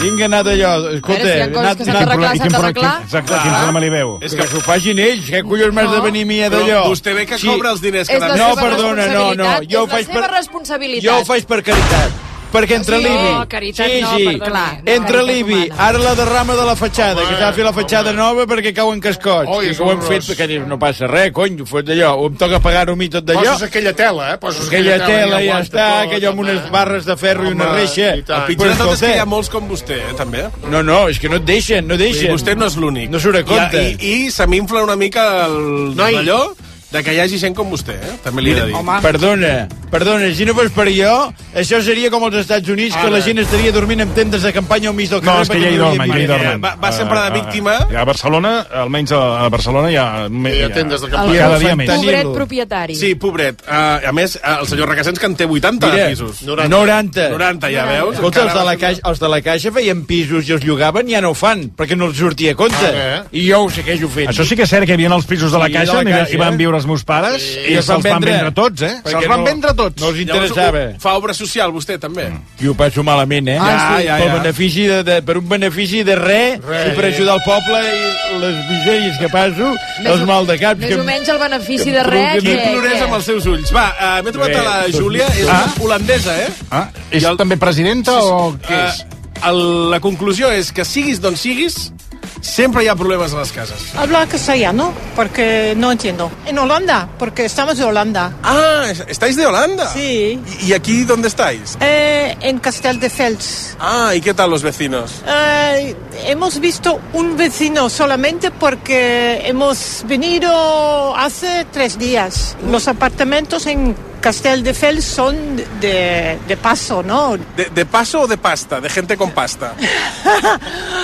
[SPEAKER 19] vinga, anar d'allò. Escolta,
[SPEAKER 22] Veure si hi ha coses que s'han d'arreglar, s'han d'arreglar.
[SPEAKER 19] Exacte, quin problema li veu? És que s'ho facin ells, que collons m'has de venir a mi a d'allò?
[SPEAKER 23] Però vostè ve que cobra els diners
[SPEAKER 22] És la
[SPEAKER 19] No,
[SPEAKER 22] seva
[SPEAKER 19] perdona, no, no.
[SPEAKER 22] responsabilitat,
[SPEAKER 19] Jo ho
[SPEAKER 22] és la
[SPEAKER 19] faig
[SPEAKER 22] seva
[SPEAKER 19] per...
[SPEAKER 22] responsabilitat.
[SPEAKER 19] Jo ho faig per caritat. Perquè entre
[SPEAKER 22] Sí,
[SPEAKER 19] l'IBI...
[SPEAKER 22] no, oh, caritat no, perdoni, no,
[SPEAKER 19] entre
[SPEAKER 22] caritat
[SPEAKER 19] l'IBI,
[SPEAKER 22] humana.
[SPEAKER 19] ara la derrama de la fatxada, que s'ha de fer la fatxada nova perquè cauen cascots.
[SPEAKER 11] Oi,
[SPEAKER 19] I
[SPEAKER 11] és
[SPEAKER 19] que ho hem fet
[SPEAKER 11] horrorós.
[SPEAKER 19] perquè dius, no passa res, cony, fot d'allò. Em toca pagar-ho a mi tot d'allò.
[SPEAKER 11] Poses aquella tela, eh? Poses
[SPEAKER 19] Aquella tela ja
[SPEAKER 11] aguanta
[SPEAKER 19] està,
[SPEAKER 11] tot,
[SPEAKER 19] aquella amb
[SPEAKER 11] home.
[SPEAKER 19] unes barres de ferro i una
[SPEAKER 11] Home,
[SPEAKER 19] reixa.
[SPEAKER 11] i tant.
[SPEAKER 23] El pitjor de tot és que hi ha
[SPEAKER 19] escolta,
[SPEAKER 23] molts com vostè, eh, també.
[SPEAKER 19] No, no, és que no et deixen, no
[SPEAKER 23] Vull dir,
[SPEAKER 19] deixen.
[SPEAKER 23] vostè no és l'únic.
[SPEAKER 19] No surt a compte.
[SPEAKER 23] I, i, i se m'infla una mica el
[SPEAKER 11] Noi.
[SPEAKER 23] d'allò de que hi hagi gent com vostè, eh? També li he de dir.
[SPEAKER 19] Perdona, perdona, si no fos per jo, això seria com als Estats Units, que
[SPEAKER 23] Ara.
[SPEAKER 19] la gent estaria dormint en tendes de campanya al mig del carrer.
[SPEAKER 27] No, és que ja
[SPEAKER 19] perquè
[SPEAKER 27] hi
[SPEAKER 19] no
[SPEAKER 27] dormen, ja hi
[SPEAKER 19] havia
[SPEAKER 27] dormen.
[SPEAKER 23] Eh, Va- va sempre de víctima.
[SPEAKER 27] Ja Eh, a Barcelona, almenys a, a Barcelona, hi ha...
[SPEAKER 11] Hi ha tendes de
[SPEAKER 27] cada
[SPEAKER 11] campanya.
[SPEAKER 27] dia més.
[SPEAKER 22] Pobret propietari.
[SPEAKER 23] Sí, pobret. Uh, a més, eh, el senyor Requesens que en té 80
[SPEAKER 19] Mira,
[SPEAKER 23] de pisos.
[SPEAKER 19] 90.
[SPEAKER 23] 90, ja veus?
[SPEAKER 19] Escolta, els de, la
[SPEAKER 23] Encara-
[SPEAKER 19] caixa, els de la Caixa feien pisos i els llogaven, ja no ho fan, perquè no els sortia a compte.
[SPEAKER 11] Ah,
[SPEAKER 19] I jo ho segueixo fent.
[SPEAKER 27] Això sí que és cert que hi havia els pisos de la
[SPEAKER 19] Sí,
[SPEAKER 27] Caixa,
[SPEAKER 19] de la
[SPEAKER 27] i va-
[SPEAKER 19] Caixa,
[SPEAKER 27] hi van
[SPEAKER 19] eh?
[SPEAKER 27] viure els meus pares,
[SPEAKER 19] Sí.
[SPEAKER 27] i, se'ls van vendre tots, eh?
[SPEAKER 19] Perquè
[SPEAKER 27] Se'ls van
[SPEAKER 19] no-
[SPEAKER 27] vendre tots.
[SPEAKER 19] No els
[SPEAKER 23] Llavors,
[SPEAKER 19] interessava. Mm.
[SPEAKER 23] ho- Fa obra social, vostè, també.
[SPEAKER 19] I ho passo malament, eh?
[SPEAKER 23] Ah, sí.
[SPEAKER 19] Pel
[SPEAKER 23] ja, ja.
[SPEAKER 19] benefici de, de, per un benefici de res,
[SPEAKER 11] Res.
[SPEAKER 19] i per ajudar el poble i les misèries que passo,
[SPEAKER 22] Més
[SPEAKER 19] els
[SPEAKER 22] o-
[SPEAKER 19] mal de cap.
[SPEAKER 22] Més o menys el benefici de
[SPEAKER 19] que-
[SPEAKER 22] res.
[SPEAKER 23] Qui
[SPEAKER 19] que-
[SPEAKER 22] que-
[SPEAKER 23] plorés
[SPEAKER 22] que-
[SPEAKER 23] amb els seus ulls? Va,
[SPEAKER 19] eh,
[SPEAKER 23] uh, m'he trobat a la
[SPEAKER 19] Bé,
[SPEAKER 23] Júlia, és una holandesa, eh?
[SPEAKER 27] Ah, és també presidenta o què és?
[SPEAKER 23] Eh, el, la conclusió és que siguis d'on siguis, sempre hi ha problemes a les cases.
[SPEAKER 35] Habla castellano porque no entiendo. En Holanda, porque estamos de Holanda.
[SPEAKER 23] Ah, es- ¿estáis de Holanda?
[SPEAKER 35] Sí.
[SPEAKER 23] ¿Y, y aquí dónde estáis?
[SPEAKER 35] Eh, en Castel de Fels.
[SPEAKER 23] Ah, ¿y qué tal los vecinos?
[SPEAKER 35] Eh, hemos visto un vecino solamente porque hemos venido hace tres días. Los apartamentos en Castel de Fels son de, de paso, ¿no?
[SPEAKER 23] ¿De, de paso o de pasta? ¿De gente con pasta?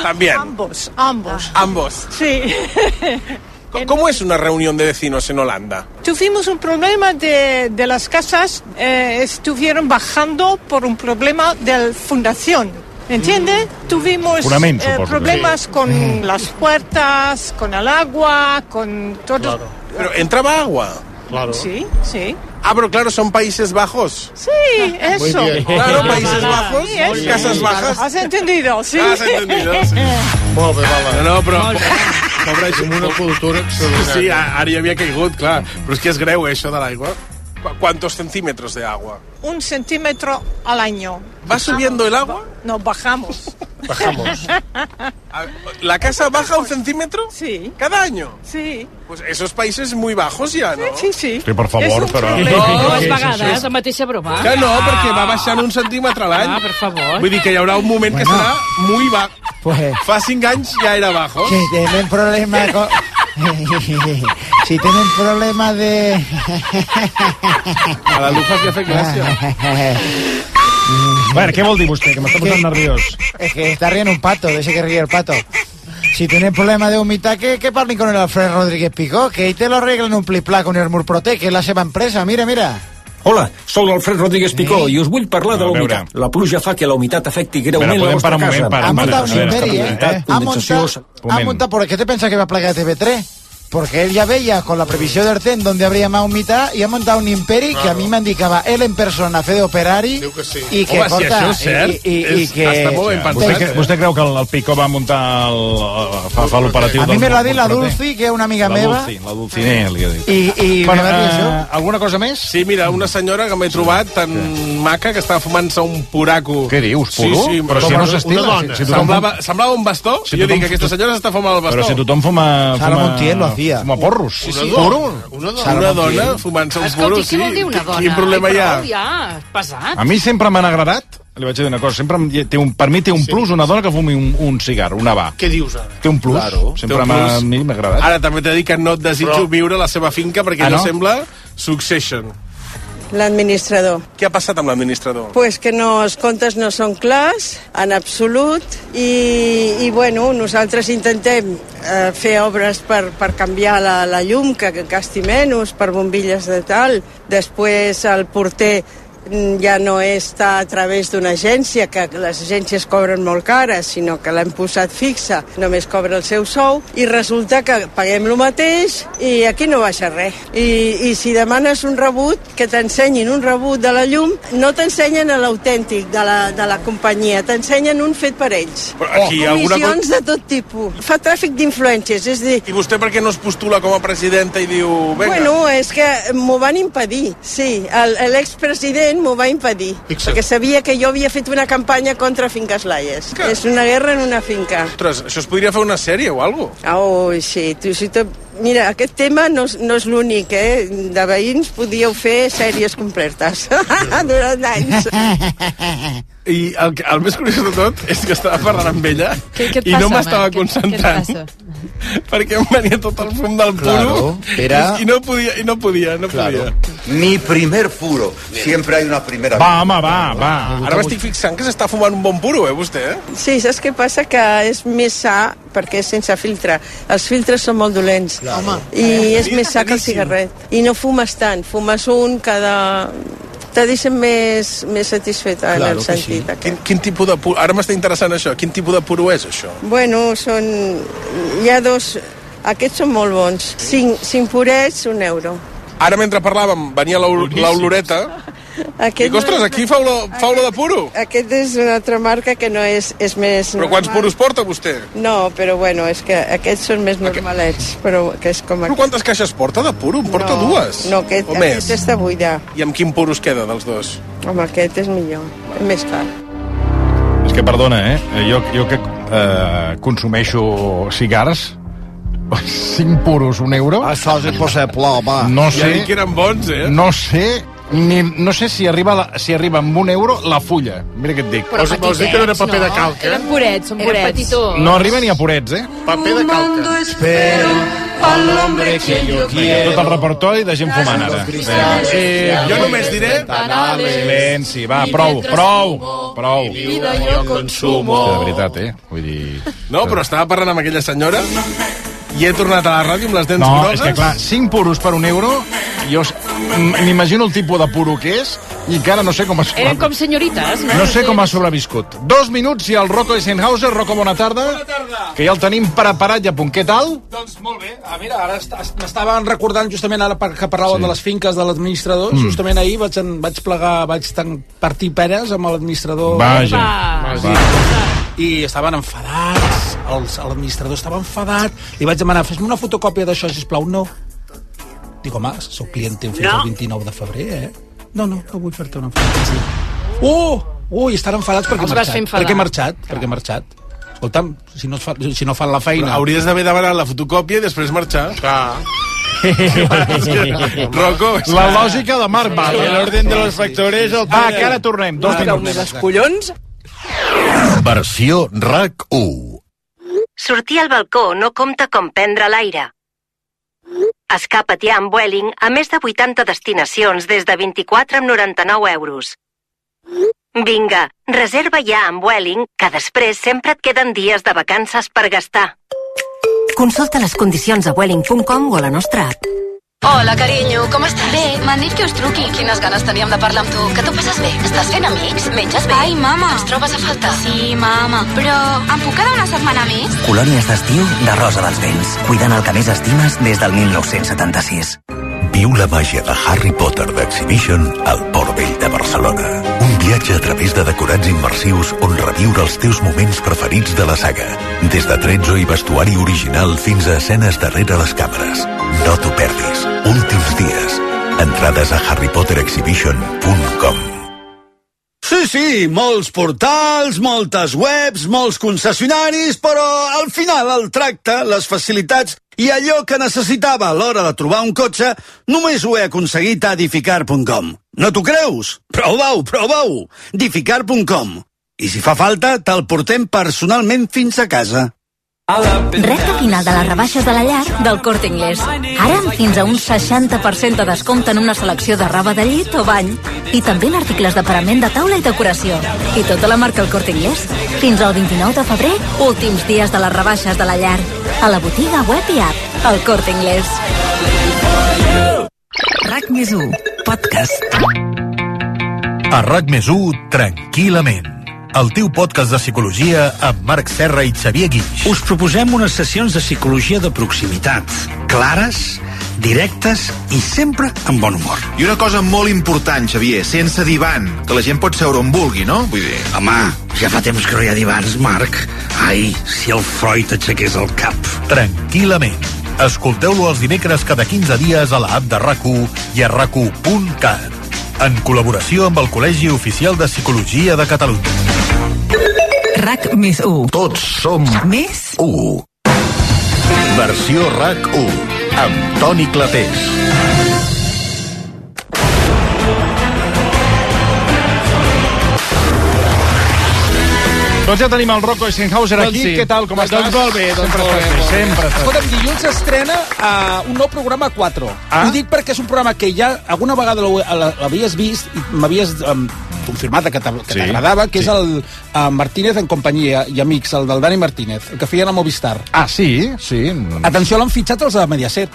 [SPEAKER 23] También.
[SPEAKER 35] Ambos,
[SPEAKER 23] Ah.
[SPEAKER 35] ambos.
[SPEAKER 23] Ambos.
[SPEAKER 35] Sí.
[SPEAKER 23] Co- ¿Cómo es una reunión de vecinos en Holanda?
[SPEAKER 35] Tuvimos un problema de, de las casas, eh, estuvieron bajando por un problema de la fundación. ¿Me entiende?
[SPEAKER 11] Mm.
[SPEAKER 35] Tuvimos eh,
[SPEAKER 27] Fundamento, supongo que
[SPEAKER 35] problemas con las puertas, con el agua, con todo.
[SPEAKER 23] Pero entraba agua.
[SPEAKER 11] Claro.
[SPEAKER 35] Sí, sí.
[SPEAKER 23] Ah, pero claro, son Países Bajos.
[SPEAKER 35] Sí, eso.
[SPEAKER 11] bien.
[SPEAKER 23] Claro, Países
[SPEAKER 35] Ah,
[SPEAKER 23] Bajos,
[SPEAKER 35] sí, eso.
[SPEAKER 23] casas bajas.
[SPEAKER 35] Has entendido, sí.
[SPEAKER 23] Has entendido, sí.
[SPEAKER 11] Molt bé, Bala.
[SPEAKER 23] No, no, però...
[SPEAKER 11] Pobre, amb una cultura
[SPEAKER 23] Sí,
[SPEAKER 11] extraordinària.
[SPEAKER 23] a- ara hi havia caigut, clar. Però és que és greu, eh, això de l'aigua. Qu- ¿Cuántos centímetros de agua?
[SPEAKER 35] Un centímetro al año.
[SPEAKER 23] ¿Va subiendo el agua?
[SPEAKER 35] No, bajamos.
[SPEAKER 11] Bajamos.
[SPEAKER 23] A- ¿La casa baja un centímetro?
[SPEAKER 35] Sí,
[SPEAKER 23] ¿Cada año?
[SPEAKER 35] sí.
[SPEAKER 23] Pues esos países muy bajos ya, ¿no?
[SPEAKER 35] Sí, sí.
[SPEAKER 27] Sí, per favor, però...
[SPEAKER 25] Dues
[SPEAKER 27] Sí, sí, sí.
[SPEAKER 25] vegades, la mateixa broma.
[SPEAKER 23] Que no, perquè va baixant un centímetre a l'any.
[SPEAKER 25] Ah, per favor.
[SPEAKER 23] Vull dir que hi haurà un moment que serà muy bajo.
[SPEAKER 1] Pues
[SPEAKER 23] Fa cinc anys ja era bajo.
[SPEAKER 1] si tienen problemas con... si tienen problemas de...
[SPEAKER 23] A la Lufa que ha fet gràcia.
[SPEAKER 27] Bueno, què vol dir vostè, que m'està posant
[SPEAKER 1] Què?
[SPEAKER 27] nerviós?
[SPEAKER 1] es que está riendo un pato, de ese que ríe el pato. Si tienen problemas de humildad, que, que parlen con el Alfredo Rodríguez Picó, que ahí te lo arreglan un pliplá con el Murprotec, que es la seva empresa, mira, mira.
[SPEAKER 18] Hola, sóc l'Alfred Rodríguez Picó i us vull parlar de
[SPEAKER 27] A
[SPEAKER 18] la
[SPEAKER 27] veure.
[SPEAKER 18] humitat. La pluja fa que la humitat afecti greument
[SPEAKER 27] Espera,
[SPEAKER 18] la
[SPEAKER 27] podem
[SPEAKER 18] vostra
[SPEAKER 27] parar un
[SPEAKER 18] casa.
[SPEAKER 27] moment, para,
[SPEAKER 1] Ha
[SPEAKER 27] para,
[SPEAKER 1] montat un
[SPEAKER 27] a veure,
[SPEAKER 1] imperi, eh?
[SPEAKER 18] estabilitat,
[SPEAKER 1] Ha
[SPEAKER 18] condensació,
[SPEAKER 1] montat,
[SPEAKER 18] sa-
[SPEAKER 1] ha montat, ¿por qué te pensas que va a plagar TV3?
[SPEAKER 27] Porque él ya veía con la previsión del
[SPEAKER 1] E
[SPEAKER 27] TEN donde habría más humedad y ha montado un imperi que a mí me indicaba él en persona, fer d'operari
[SPEAKER 22] que sí.
[SPEAKER 27] i que
[SPEAKER 20] Home, si
[SPEAKER 27] porta...
[SPEAKER 20] això és cert,
[SPEAKER 27] i, i, i
[SPEAKER 20] és-
[SPEAKER 27] que...
[SPEAKER 20] està molt ben pensat, Vostè- eh? vostè creu que el, el Picó va muntar el, eh, fa, fa l'operatiu
[SPEAKER 27] A mi
[SPEAKER 20] del-
[SPEAKER 27] me l'ha dit la
[SPEAKER 20] del-
[SPEAKER 27] Dulci, que és una amiga
[SPEAKER 20] La
[SPEAKER 27] meva.
[SPEAKER 20] Dulci, la Dulcinea, li ha dit.
[SPEAKER 27] I, i
[SPEAKER 20] Bueno,
[SPEAKER 27] m'agrada
[SPEAKER 20] eh,
[SPEAKER 27] això.
[SPEAKER 20] alguna cosa més?
[SPEAKER 23] Sí, mira, una senyora que m'he trobat tan maca que estava fumant-se un puraco.
[SPEAKER 20] Què dius, puro?
[SPEAKER 23] Sí, sí,
[SPEAKER 20] Però si no s'estila,
[SPEAKER 23] una
[SPEAKER 20] si-
[SPEAKER 23] dona.
[SPEAKER 20] si tothom-
[SPEAKER 23] semblava, semblava un bastó,
[SPEAKER 20] Si
[SPEAKER 23] i jo
[SPEAKER 20] tothom-
[SPEAKER 23] dic, aquesta senyora s'està fumant el bastó.
[SPEAKER 20] Però si tothom fuma...
[SPEAKER 23] Sara
[SPEAKER 20] fuma-
[SPEAKER 23] Montiel lo hacía.
[SPEAKER 20] Fuma porros.
[SPEAKER 23] Sí, sí.
[SPEAKER 20] Puro?
[SPEAKER 23] Una dona,
[SPEAKER 20] Sara
[SPEAKER 23] una
[SPEAKER 20] Montiel.
[SPEAKER 23] dona fumant-se un
[SPEAKER 25] Escolti,
[SPEAKER 23] puro,
[SPEAKER 25] què
[SPEAKER 23] sí.
[SPEAKER 25] vol dir una dona?
[SPEAKER 23] Quin problema
[SPEAKER 25] Ai,
[SPEAKER 23] hi ha?
[SPEAKER 25] prou, ja, pesat.
[SPEAKER 20] A mi sempre m'han agradat, li vaig dir una cosa, sempre em- té un, per mi té un plus una dona que fumi un, un cigar, una va.
[SPEAKER 22] Què dius ara?
[SPEAKER 20] Té un plus.
[SPEAKER 23] Claro, té
[SPEAKER 20] sempre
[SPEAKER 23] un
[SPEAKER 20] m'ha-
[SPEAKER 23] plus.
[SPEAKER 20] a mi m'ha agradat.
[SPEAKER 23] Ara també t'he dit que no et desitjo
[SPEAKER 22] Però-
[SPEAKER 23] viure a la seva finca perquè
[SPEAKER 22] Ah,
[SPEAKER 23] no?
[SPEAKER 22] no?
[SPEAKER 23] sembla Succession.
[SPEAKER 24] L'administrador.
[SPEAKER 23] Què ha passat amb l'administrador?
[SPEAKER 24] Pues que no, els comptes no són clars, en absolut, i, i bueno, nosaltres intentem eh, fer obres per, per canviar la, la llum, que, que gasti menys, per bombilles de tal. Després el porter mm, ja no està a través d'una agència, que les agències cobren molt cares, sinó que l'hem posat fixa, només cobra el seu sou, i resulta que paguem el mateix i aquí no baixa res. I, i si demanes un rebut, que t'ensenyin un rebut de la llum, no t'ensenyen l'autèntic de, la, de la companyia, t'ensenyen un fet per ells.
[SPEAKER 23] Però aquí hi ha alguna
[SPEAKER 24] Comissions de tot tipus. Fa tràfic d'influències, és a dir,
[SPEAKER 23] I vostè per què no es postula com a presidenta i diu... Venga.
[SPEAKER 24] Bueno, és que m'ho van impedir, sí. el- L'expresident m'ho va impedir,
[SPEAKER 23] Fixa't.
[SPEAKER 24] perquè sabia que jo havia fet una campanya contra finques laies. És una guerra en una finca.
[SPEAKER 23] Ostres, això es podria fer una sèrie o alguna cosa.
[SPEAKER 24] Oh, sí, tu, si te... Mira, aquest tema no, és- no és l'únic, eh? De veïns podíeu fer sèries completes durant anys.
[SPEAKER 23] I el, que- el més curiós de tot és que estava parlant amb ella
[SPEAKER 24] Què- què et
[SPEAKER 23] i
[SPEAKER 24] passa,
[SPEAKER 23] no
[SPEAKER 24] home?
[SPEAKER 23] m'estava
[SPEAKER 24] Què- què et
[SPEAKER 23] concentrant
[SPEAKER 24] passa?
[SPEAKER 23] perquè em venia tot el fum del puro
[SPEAKER 36] Claro, era-
[SPEAKER 23] i, no podia, i no podia, no
[SPEAKER 36] Claro.
[SPEAKER 23] podia.
[SPEAKER 36] Mi primer furo. Siempre hay una primera
[SPEAKER 23] Va,
[SPEAKER 36] vez.
[SPEAKER 23] home, va,
[SPEAKER 36] va.
[SPEAKER 23] Ara m'estic fixant que s'està fumant un bon puro, eh, vostè? eh?
[SPEAKER 24] Sí, saps què passa? Que és més sa perquè és sense filtre. Els filtres són molt dolents. Home. I és més sa que el cigarret. I no fumes tant. Fumes un cada... Te deixen més, més satisfeta en el sentit. Sí.
[SPEAKER 23] Quin, quin tipus de puro... Ara m'està interessant això. Quin tipus de puro és, això?
[SPEAKER 24] Bueno, són... Hi ha dos... Aquests són molt bons. Cinc, cinc purets, un euro.
[SPEAKER 23] Ara, mentre parlàvem, venia l'ol- l'oloreta.
[SPEAKER 24] Aquest
[SPEAKER 23] Dic, ostres, aquí fa olor, fa olor de puro.
[SPEAKER 24] Aquest és una altra marca que no és, és més...
[SPEAKER 23] Però quants
[SPEAKER 24] normal.
[SPEAKER 23] puros porta, vostè?
[SPEAKER 24] No, però bueno, és que aquests són més normalets, però que és com
[SPEAKER 23] Però
[SPEAKER 24] aquest.
[SPEAKER 23] quantes caixes porta de puro? En porta
[SPEAKER 24] no,
[SPEAKER 23] dues?
[SPEAKER 24] No, aquest,
[SPEAKER 23] o més?
[SPEAKER 24] aquest està buida.
[SPEAKER 23] I amb quin puro es queda, dels dos?
[SPEAKER 24] Home, aquest és millor, és més car.
[SPEAKER 20] És que, perdona, eh? Jo, jo que eh, consumeixo cigars, 5 puros, un euro...
[SPEAKER 36] Això és impossible, home.
[SPEAKER 20] No
[SPEAKER 23] Ja dic
[SPEAKER 20] sé,
[SPEAKER 23] que eren bons, eh?
[SPEAKER 20] no sé, ni, no sé si arriba, la, si arriba amb un euro la fulla. Mira què et dic.
[SPEAKER 22] Però Vols- vols dir que no era petitets, paper de no? calca?
[SPEAKER 37] Eren purets, són purets. petitons.
[SPEAKER 20] No arriba ni a purets, eh?
[SPEAKER 22] Paper de calca.
[SPEAKER 36] Espero al hombre que yo
[SPEAKER 20] Vinga, tot el repertori de gent fumant, ara. Vinga.
[SPEAKER 22] Eh,
[SPEAKER 23] jo només diré...
[SPEAKER 20] Silenci, va, prou, prou, prou.
[SPEAKER 22] Vida yo consumo.
[SPEAKER 20] Hòstia, de veritat, eh? Vull dir...
[SPEAKER 23] No, però estava parlant amb aquella senyora i he tornat a la ràdio amb les dents
[SPEAKER 20] No,
[SPEAKER 23] grosses.
[SPEAKER 20] és que clar, 5 puros per un euro, jo s- m- m'imagino el tipus de puro que és i que ara no sé com es...
[SPEAKER 25] Eren com senyorites, no?
[SPEAKER 20] No sé com ha sobreviscut. Dos minuts i el Rocco Eisenhauser. Rocco, bona tarda. Bona tarda. Que ja el tenim preparat i a punt. Què tal?
[SPEAKER 38] Doncs molt bé. Ah, mira, ara est- est- m'estaven recordant justament ara per- que parlàveu sí. de les finques de l'administrador.
[SPEAKER 20] Mm.
[SPEAKER 38] Mm. Justament ahir vaig, en, vaig plegar, vaig tan partir peres amb l'administrador.
[SPEAKER 20] Vaja.
[SPEAKER 38] Vaja. I estaven enfadats, els- l'administrador estava enfadat. Li vaig demanar, fes-me una fotocòpia d'això, sisplau. No. Dic, home, sóc client teu fins
[SPEAKER 24] No.
[SPEAKER 38] al 29 de febrer, eh? No, no, no vull fer-te una fotocòpia. Uh! Ui, estan enfadats perquè he
[SPEAKER 25] Els vas
[SPEAKER 38] marxat.
[SPEAKER 25] fer enfadar.
[SPEAKER 38] Perquè he marxat, perquè he marxat. Escolta'm, si no, es fa, si no fan la feina...
[SPEAKER 23] Però hauries d'haver demanat la fotocòpia i després marxar. Clar. Rocco, és
[SPEAKER 20] La
[SPEAKER 23] que-
[SPEAKER 20] lògica de Marc Val. eh?
[SPEAKER 39] L'orden de los factores... El...
[SPEAKER 20] Ah, que ara tornem. Dos minuts.
[SPEAKER 17] Els collons...
[SPEAKER 40] Versió RAC1.
[SPEAKER 41] Sortir al balcó no compta com prendre l'aire. Escapa't ja amb Vueling a més de 80 destinacions des de 24 amb 99 euros. Vinga, reserva ja amb Vueling, que després sempre et queden dies de vacances per gastar.
[SPEAKER 42] Consulta les condicions a welling.com o a la nostra app.
[SPEAKER 6] Hola, carinyo, com estàs? Bé, m'han dit que us truqui. Quines ganes teníem de parlar amb tu. Que t'ho passes bé? Estàs fent amics? Menges bé? Ai, mama. Ens trobes a faltar? Sí, mama. Però em puc quedar una setmana més?
[SPEAKER 43] Colònies d'estiu de Rosa dels Vents. Cuidant el que més estimes des del 1976.
[SPEAKER 9] Viu la màgia de Harry Potter d'Exhibition al Port Vell de Barcelona. Un viatge a través de decorats immersius on reviure els teus moments preferits de la saga. Des de tretzo i vestuari original fins a escenes darrere les càmeres. No t'ho perdis. Últims dies. Entrades a harrypoterexhibition.com
[SPEAKER 28] Sí, sí, molts portals, moltes webs, molts concessionaris, però al final el tracte, les facilitats i allò que necessitava a l'hora de trobar un cotxe només ho he aconseguit a edificar.com. No t'ho creus? Prova-ho, prova-ho! edificar.com. I si fa falta, te'l portem personalment fins a casa.
[SPEAKER 10] Recta final de les rebaixes de la llar del Corte Inglés. Ara amb fins a un 60% de descompte en una selecció de roba de llit o bany i també en articles de parament de taula i decoració. I tota la marca El Corte Inglés. Fins al 29 de febrer, últims dies de les rebaixes de la llar. A la botiga web i app. El Corte Inglés.
[SPEAKER 17] RAC més 1, podcast.
[SPEAKER 9] A RAC més 1, tranquil·lament. El teu podcast de psicologia amb Marc Serra i Xavier Guix.
[SPEAKER 44] Us proposem unes sessions de psicologia de proximitat, clares, directes i sempre amb bon humor.
[SPEAKER 45] I una cosa molt important, Xavier, sense divan, que la gent pot seure on vulgui, no? Vull dir...
[SPEAKER 44] Home, ja fa temps que no hi ha divans, Marc. Ai, si el Freud aixequés el cap.
[SPEAKER 9] Tranquil·lament. Escolteu-lo els dimecres cada 15 dies a l'app de rac i a rac en col·laboració amb el Col·legi Oficial de Psicologia de Catalunya.
[SPEAKER 17] RAC més 1.
[SPEAKER 9] Tots som
[SPEAKER 17] Més
[SPEAKER 9] 1. Versió RAC 1 amb Toni Clapés.
[SPEAKER 23] Doncs ja tenim el Rocco Eisenhauser
[SPEAKER 38] Doncs
[SPEAKER 23] aquí.
[SPEAKER 38] sí.
[SPEAKER 23] Què tal, com
[SPEAKER 38] Doncs
[SPEAKER 23] estàs?
[SPEAKER 38] molt bé, doncs
[SPEAKER 23] sempre
[SPEAKER 38] molt bé,
[SPEAKER 23] estàs
[SPEAKER 38] molt bé.
[SPEAKER 23] sempre estàs
[SPEAKER 38] Escolta'm, dilluns s'estrena uh, un nou programa 4. Ah? Ho dic perquè és un programa que ja alguna vegada l'ho- eh, la- l'havies vist i m'havies um, confirmat que t'ag- que
[SPEAKER 23] Sí,
[SPEAKER 38] t'agradava, que
[SPEAKER 23] sí.
[SPEAKER 38] és el uh, Martínez en companyia i amics, el del Dani Martínez, el que feien a Movistar.
[SPEAKER 23] Ah, sí? Sí. doncs.
[SPEAKER 38] Atenció, l'han fitxat els de Mediaset.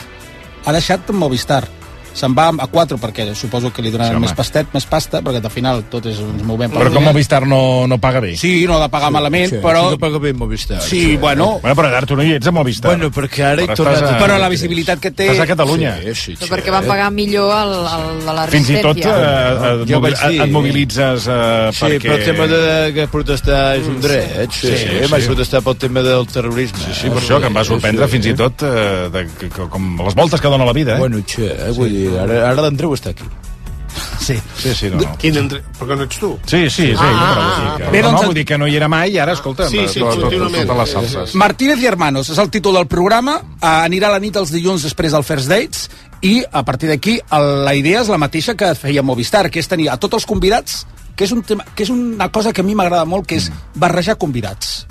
[SPEAKER 38] Ha deixat Movistar. Se'n va a 4 perquè suposo que li donaran
[SPEAKER 20] Sí, home.
[SPEAKER 38] més pastet, més pasta, perquè al final tot és un moviment.
[SPEAKER 20] Però com Movistar no, no paga bé.
[SPEAKER 38] Sí, no ha de pagar malament, però...
[SPEAKER 20] Sí,
[SPEAKER 38] paga bé Movistar. Sí, bueno...
[SPEAKER 20] Bueno, però ara tu no hi ets a Movistar.
[SPEAKER 38] Bueno, perquè ara
[SPEAKER 19] he
[SPEAKER 20] Però
[SPEAKER 19] tornat
[SPEAKER 20] estàs
[SPEAKER 19] a-
[SPEAKER 38] Però la visibilitat que té...
[SPEAKER 20] Estàs a Catalunya.
[SPEAKER 19] sí,
[SPEAKER 22] Però perquè van pagar millor el, el de la
[SPEAKER 20] Fins i tot eh,
[SPEAKER 22] resistència.
[SPEAKER 20] et,
[SPEAKER 19] Jo
[SPEAKER 20] mobil,
[SPEAKER 19] vaig dir-
[SPEAKER 20] et mobilitzes eh,
[SPEAKER 19] Sí,
[SPEAKER 20] perquè... Mm.
[SPEAKER 19] però el tema de, de protestar és un dret. eh? Sí, sí, sí, sí. vaig protestar pel tema del terrorisme.
[SPEAKER 20] Sí, sí, per això, que em va sorprendre fins i tot eh, de, que, que, com les voltes que dona la vida, eh?
[SPEAKER 19] Bueno, xe, eh, vull dir, ara, ara l'Andreu està aquí.
[SPEAKER 38] Sí.
[SPEAKER 20] Sí, sí, no, no.
[SPEAKER 46] Quin entre... Perquè no ets tu?
[SPEAKER 20] Sí, sí, sí. Ah, però, sí que,
[SPEAKER 38] Bé,
[SPEAKER 20] no,
[SPEAKER 38] doncs-
[SPEAKER 20] no, vull dir que no hi era mai i ara, escolta,
[SPEAKER 38] Sí, sí,
[SPEAKER 20] to- to- to-
[SPEAKER 38] continuament.
[SPEAKER 20] totes les salses.
[SPEAKER 38] Martínez i Hermanos és el títol del programa. Eh, anirà a la nit els dilluns després del First Dates i a partir d'aquí el- la idea és la mateixa que feia Movistar, que és tenir a tots els convidats, que és, un tema, que és una cosa que a mi m'agrada molt, que és barrejar convidats.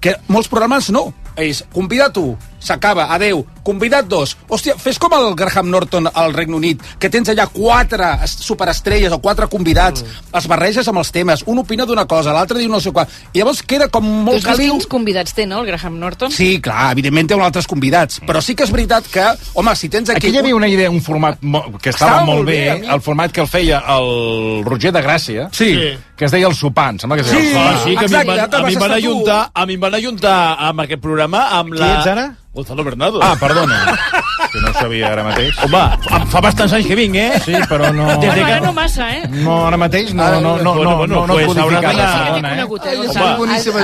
[SPEAKER 38] Que molts programes no. És convidat 1, s'acaba, adeu, convidat 2. Hòstia, fes com el Graham Norton al Regne Unit, que tens allà quatre es- superestrelles o quatre convidats, els barreges amb els temes, un opina d'una cosa, l'altre diu no sé què. I llavors queda com
[SPEAKER 25] Tu
[SPEAKER 38] molt
[SPEAKER 25] has vist
[SPEAKER 38] caliu.
[SPEAKER 25] quins convidats té, no, el Graham Norton?
[SPEAKER 38] Sí, clar, evidentment té uns altres convidats, però sí que és veritat que, home, si tens aquí...
[SPEAKER 20] Aquí hi havia una idea, un format mo- que estava,
[SPEAKER 38] Estava molt
[SPEAKER 20] molt
[SPEAKER 38] bé,
[SPEAKER 20] bé,
[SPEAKER 38] a mi.
[SPEAKER 20] el format que el feia el Roger de Gràcia,
[SPEAKER 38] Sí.
[SPEAKER 20] que es deia el sopar, em sembla que es deia
[SPEAKER 4] Sí,
[SPEAKER 20] el sopar.
[SPEAKER 4] sí, que a mi, em van,
[SPEAKER 38] exacte,
[SPEAKER 4] a mi em van
[SPEAKER 38] vas estar tu.
[SPEAKER 4] ajuntar, a mi em van ajuntar amb aquest programa amb la...
[SPEAKER 20] Qui ets ara?
[SPEAKER 4] Gonzalo Bernardo.
[SPEAKER 20] Ah, perdona, que no ho sabia ara mateix.
[SPEAKER 4] Home, em fa bastants anys que vinc, eh?
[SPEAKER 20] Sí, però no...
[SPEAKER 4] Des de
[SPEAKER 25] Bueno,
[SPEAKER 4] que...
[SPEAKER 25] ara no massa, eh?
[SPEAKER 20] No, ara mateix no, no, no, no,
[SPEAKER 4] Ah, Bueno,
[SPEAKER 20] no,
[SPEAKER 4] bueno,
[SPEAKER 20] no, no
[SPEAKER 4] pues haurà
[SPEAKER 20] codificada,
[SPEAKER 4] d'anar-
[SPEAKER 20] perdona, eh?
[SPEAKER 25] Conegut, eh?
[SPEAKER 4] Home,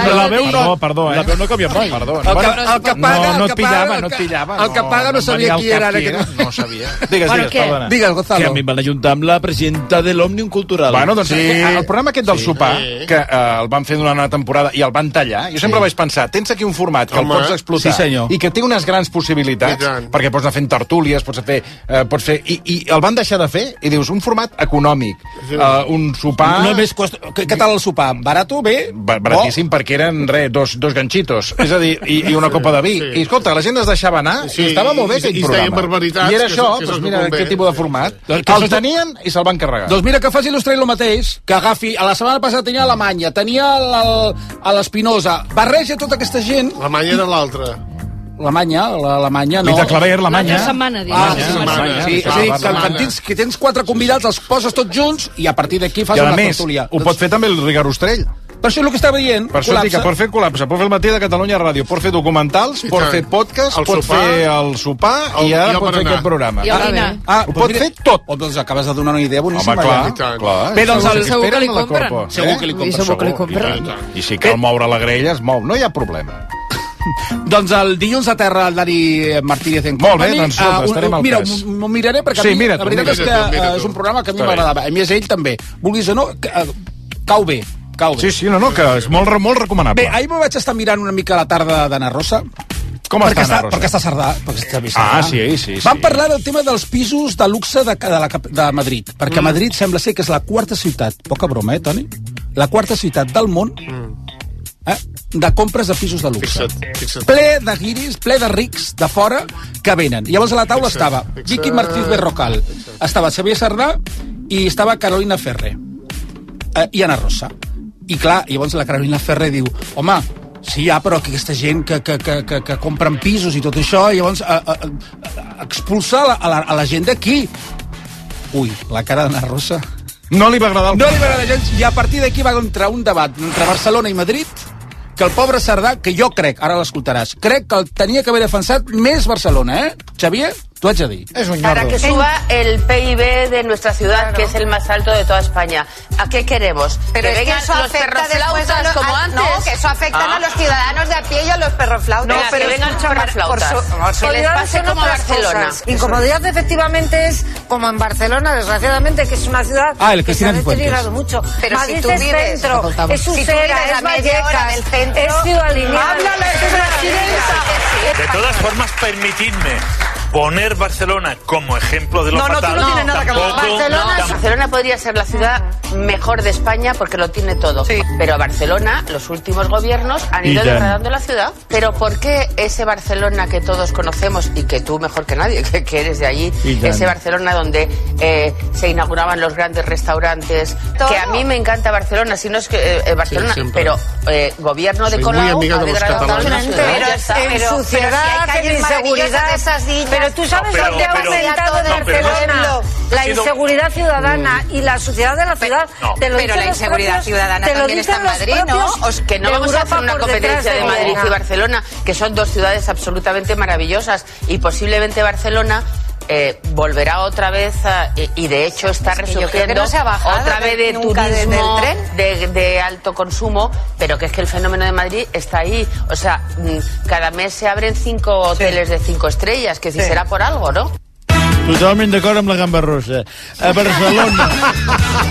[SPEAKER 4] però la veu no...
[SPEAKER 20] Perdó, perdó, eh?
[SPEAKER 4] La veu no canvia mai.
[SPEAKER 20] Perdó.
[SPEAKER 4] El que-
[SPEAKER 20] Bueno,
[SPEAKER 4] el que paga,
[SPEAKER 20] no, no
[SPEAKER 4] el
[SPEAKER 20] et
[SPEAKER 4] que paga,
[SPEAKER 20] pillava,
[SPEAKER 4] el
[SPEAKER 20] no et
[SPEAKER 4] que-
[SPEAKER 20] pillava.
[SPEAKER 4] el que paga no
[SPEAKER 20] em
[SPEAKER 4] sabia
[SPEAKER 20] venia al
[SPEAKER 4] qui
[SPEAKER 20] cap
[SPEAKER 4] era en
[SPEAKER 20] era,
[SPEAKER 4] aquest-
[SPEAKER 20] No sabia.
[SPEAKER 4] Digues,
[SPEAKER 20] Bueno,
[SPEAKER 4] digues,
[SPEAKER 20] què?
[SPEAKER 4] perdona.
[SPEAKER 20] Digues, Gonzalo.
[SPEAKER 4] Que a mi em van ajuntar amb la presidenta de l'Òmnium Cultural.
[SPEAKER 20] Bueno, doncs sí. el programa aquest del sí. sopar, que eh, el van fer durant una temporada i el van tallar, jo sempre sí. vaig pensar, tens aquí un format que
[SPEAKER 38] Home,
[SPEAKER 20] el pots explotar
[SPEAKER 38] sí, senyor.
[SPEAKER 20] i que té unes grans possibilitats, perquè pots anar fent tertúlies, pots fer... Eh, pots fer i, I el van deixar de fer, i dius, un format econòmic,
[SPEAKER 38] Sí.
[SPEAKER 20] eh, un sopar...
[SPEAKER 38] Només costa... Què què tal el sopar? Barato, bé?
[SPEAKER 20] ba- baratíssim perquè eren re, dos, dos ganxitos és a dir, i, i una copa de vi
[SPEAKER 38] Sí.
[SPEAKER 20] i escolta, la gent es deixava anar
[SPEAKER 38] Sí,
[SPEAKER 20] i estava molt bé
[SPEAKER 38] i-
[SPEAKER 20] aquell
[SPEAKER 38] i es deien
[SPEAKER 20] programa
[SPEAKER 38] barbaritats,
[SPEAKER 20] i era
[SPEAKER 38] que és
[SPEAKER 20] això,
[SPEAKER 38] el- que és
[SPEAKER 20] doncs
[SPEAKER 38] el que
[SPEAKER 20] mira
[SPEAKER 38] convé.
[SPEAKER 20] aquest tipus de format
[SPEAKER 38] Doncs que
[SPEAKER 20] el
[SPEAKER 38] això-
[SPEAKER 20] tenien i se'l van carregar
[SPEAKER 38] Doncs mira que faci l'Austràlia el mateix, que agafi... A la setmana passada tenia Alemanya, tenia el- el- a l'Espinosa, barreja tota aquesta gent...
[SPEAKER 46] La manya era l'altra.
[SPEAKER 38] Alemanya, l'Alemanya no.
[SPEAKER 20] Lita Claver, l'Alemanya.
[SPEAKER 47] L'altra setmana, dius.
[SPEAKER 38] Ah,
[SPEAKER 47] L'altra
[SPEAKER 38] sí,
[SPEAKER 47] setmana.
[SPEAKER 38] setmana. Sí,
[SPEAKER 47] Sí,
[SPEAKER 38] és a dir,
[SPEAKER 47] l'altra
[SPEAKER 38] que, el-
[SPEAKER 47] setmana.
[SPEAKER 38] que, tens, que tens quatre convidats, els poses tots junts i a partir d'aquí fas
[SPEAKER 20] I a
[SPEAKER 38] una
[SPEAKER 20] més,
[SPEAKER 38] tertúlia. Doncs-
[SPEAKER 20] ho pot fer també el Ricard Ostrell.
[SPEAKER 38] Per això és el que estava dient.
[SPEAKER 20] Per això et dic que pot fer col·lapse, pot fer el matí de Catalunya Ràdio, pot fer documentals,
[SPEAKER 38] I
[SPEAKER 20] pot
[SPEAKER 38] tant.
[SPEAKER 20] fer podcast,
[SPEAKER 38] El
[SPEAKER 20] pot
[SPEAKER 38] sopar,
[SPEAKER 20] fer el sopar
[SPEAKER 38] el-
[SPEAKER 20] i
[SPEAKER 38] i el
[SPEAKER 20] ara pot fer
[SPEAKER 38] berenar.
[SPEAKER 20] aquest programa.
[SPEAKER 38] I el dinar.
[SPEAKER 20] Ah, ho pot fer
[SPEAKER 38] tot. Oh, doncs acabes de donar una idea boníssima.
[SPEAKER 20] Home, clar,
[SPEAKER 38] ja.
[SPEAKER 20] clar.
[SPEAKER 38] Bé, doncs...
[SPEAKER 20] Segur-
[SPEAKER 38] El...
[SPEAKER 20] segur que li compren.
[SPEAKER 38] Segur que li compren, segur que li compren.
[SPEAKER 20] I, tant. I si cal moure la grella, es mou. No hi ha problema. eh,
[SPEAKER 38] Doncs el dilluns a terra el Dani Martínez en
[SPEAKER 20] Molt bé,
[SPEAKER 38] Company.
[SPEAKER 20] doncs, escolta,
[SPEAKER 38] Ah, un-
[SPEAKER 20] estarem al
[SPEAKER 38] Mira,
[SPEAKER 20] cas.
[SPEAKER 38] m'ho m'ho miraré perquè
[SPEAKER 20] Sí,
[SPEAKER 38] a mi,
[SPEAKER 20] mira-t'ho,
[SPEAKER 38] la veritat és que
[SPEAKER 20] mira-t'ho, mira-t'ho.
[SPEAKER 38] eh, és un programa que a mi
[SPEAKER 20] Està bé.
[SPEAKER 38] m'agradava. A més, ell també. Vulguis o no, que, eh, cau bé. Cau bé.
[SPEAKER 20] Sí, sí, no, no, que és molt, re- molt recomanable.
[SPEAKER 38] Bé, ahir me vaig estar mirant una mica la tarda d'Anna Rosa.
[SPEAKER 20] Com
[SPEAKER 38] perquè
[SPEAKER 20] està Ana Rosa?
[SPEAKER 38] Perquè està Cerdà. Perquè està bé Cerdà.
[SPEAKER 20] Ah, sí, sí, sí.
[SPEAKER 38] Van parlar del tema dels pisos de luxe de, de, la, cap- de Madrid, perquè
[SPEAKER 20] Mm.
[SPEAKER 38] mm. Madrid sembla ser que és la quarta ciutat, poca broma, eh, Toni? La quarta ciutat del món eh, de compres de pisos de luxe. Fixa't,
[SPEAKER 3] fixa't.
[SPEAKER 38] Ple de guiris, ple de rics de fora que venen. Llavors a la taula
[SPEAKER 3] Fixa't,
[SPEAKER 38] estava
[SPEAKER 3] fixa't.
[SPEAKER 38] Vicky Martínez Berrocal, estava Xavier Sardà i estava Carolina Ferrer eh, i Anna Rosa. I clar, llavors la Carolina Ferrer diu, home, sí, ja, però aquesta gent que, que, que, que, que compren pisos i tot això, llavors eh, a, a, a, expulsar la, a, la, a la gent d'aquí. Ui, la cara d'Anna Rosa.
[SPEAKER 20] No li va agradar
[SPEAKER 38] No li va agradar gens. I a partir d'aquí va entrar un debat entre Barcelona i Madrid que el pobre Cerdà, que jo crec, ara l'escoltaràs, crec que el tenia que haver defensat més Barcelona, eh? Xavier, t'ho haig de dir. És un
[SPEAKER 48] Para que suba el PIB de nuestra ciudad, que es el más alto de toda España. ¿A qué queremos?
[SPEAKER 22] Pero es que
[SPEAKER 48] vengan
[SPEAKER 22] eso
[SPEAKER 48] los
[SPEAKER 22] afecta
[SPEAKER 48] perroflautas
[SPEAKER 22] después a los,
[SPEAKER 48] como
[SPEAKER 22] a-
[SPEAKER 48] antes.
[SPEAKER 22] No, que eso afecta
[SPEAKER 48] Ah.
[SPEAKER 22] a los ciudadanos de a pie y a los perroflautas.
[SPEAKER 48] No, pero vengan los perroflautas.
[SPEAKER 22] Que les
[SPEAKER 48] Podrían
[SPEAKER 22] pase
[SPEAKER 48] hacer
[SPEAKER 22] como a
[SPEAKER 48] otras
[SPEAKER 22] Barcelona.
[SPEAKER 48] cosas.
[SPEAKER 22] Incomodidad efectivamente es como en Barcelona, desgraciadamente, que es una ciudad
[SPEAKER 38] Ah, el
[SPEAKER 22] que se
[SPEAKER 38] Cristina
[SPEAKER 22] ha
[SPEAKER 38] Cifuentes.
[SPEAKER 22] deteriorado mucho. Pero Madrid si tú es vives- centro, Escoltamos. es Si tú Usera, vives es a media hora Vallecas, del centro, es Ciudad Lineal. háblale, es presidenta.
[SPEAKER 9] De todas formas, permitidme poner Barcelona como ejemplo de lo fatal. Tampoco-
[SPEAKER 48] Barcelona, Barcelona podría ser la ciudad mejor de España porque lo tiene todo. Pero a Barcelona, los últimos gobiernos han
[SPEAKER 25] Y
[SPEAKER 48] ido
[SPEAKER 25] ya.
[SPEAKER 48] degradando la ciudad. Pero ¿por qué ese Barcelona que todos conocemos y que tú mejor que nadie, que, que eres de allí,
[SPEAKER 25] Y ya.
[SPEAKER 48] ese Barcelona donde eh, se inauguraban los grandes restaurantes, que a mí me encanta Barcelona, si no es que eh, eh, Barcelona,
[SPEAKER 25] siempre.
[SPEAKER 48] pero eh, gobierno de
[SPEAKER 25] Soy muy
[SPEAKER 48] Colau
[SPEAKER 25] amiga
[SPEAKER 48] ha
[SPEAKER 25] de los
[SPEAKER 48] degradado la
[SPEAKER 25] catalanes. ¿eh?
[SPEAKER 48] ciudad.
[SPEAKER 22] Pero
[SPEAKER 48] Ya está.
[SPEAKER 22] en
[SPEAKER 48] Pero- pero si hay
[SPEAKER 22] suciedad,
[SPEAKER 48] calles
[SPEAKER 22] en
[SPEAKER 48] maravillosas
[SPEAKER 22] inseguridad,
[SPEAKER 48] de esas villas.
[SPEAKER 22] pero tú sabes
[SPEAKER 48] No, pero-
[SPEAKER 22] dónde ha
[SPEAKER 48] pero-
[SPEAKER 22] aumentado de
[SPEAKER 48] no, pero-
[SPEAKER 22] Barcelona
[SPEAKER 48] Ha
[SPEAKER 22] la
[SPEAKER 48] sido- Mm,
[SPEAKER 22] inseguridad ciudadana y la suciedad de la ciudad.
[SPEAKER 48] no.
[SPEAKER 22] te
[SPEAKER 48] Pero
[SPEAKER 22] lo dicen
[SPEAKER 48] la
[SPEAKER 22] los
[SPEAKER 48] inseguridad
[SPEAKER 22] propios-
[SPEAKER 48] ciudadana
[SPEAKER 22] te lo
[SPEAKER 48] también está en
[SPEAKER 22] dicen los
[SPEAKER 48] Madrid, ¿no?
[SPEAKER 22] propios
[SPEAKER 48] Os- que no
[SPEAKER 22] de
[SPEAKER 48] vamos a
[SPEAKER 22] Europa
[SPEAKER 48] hacer una
[SPEAKER 22] por detrás
[SPEAKER 48] competencia de Madrid y
[SPEAKER 22] Barcelona.
[SPEAKER 48] Barcelona, que son dos ciudades absolutamente maravillosas y posiblemente Barcelona eh, volverá otra vez a- y, y de hecho está
[SPEAKER 22] Es que yo creo que
[SPEAKER 48] resurgiendo
[SPEAKER 22] no se ha bajado
[SPEAKER 48] otra vez de
[SPEAKER 22] nunca desde
[SPEAKER 48] turismo
[SPEAKER 22] el tren.
[SPEAKER 48] de, de alto consumo, pero que es que el fenómeno de Madrid está ahí. O sea, mm, cada mes se abren cinco hoteles de cinco estrellas, que si
[SPEAKER 19] Sí.
[SPEAKER 48] será por algo, ¿no?
[SPEAKER 19] Totalment d'acord amb la gamba rosa. A Barcelona,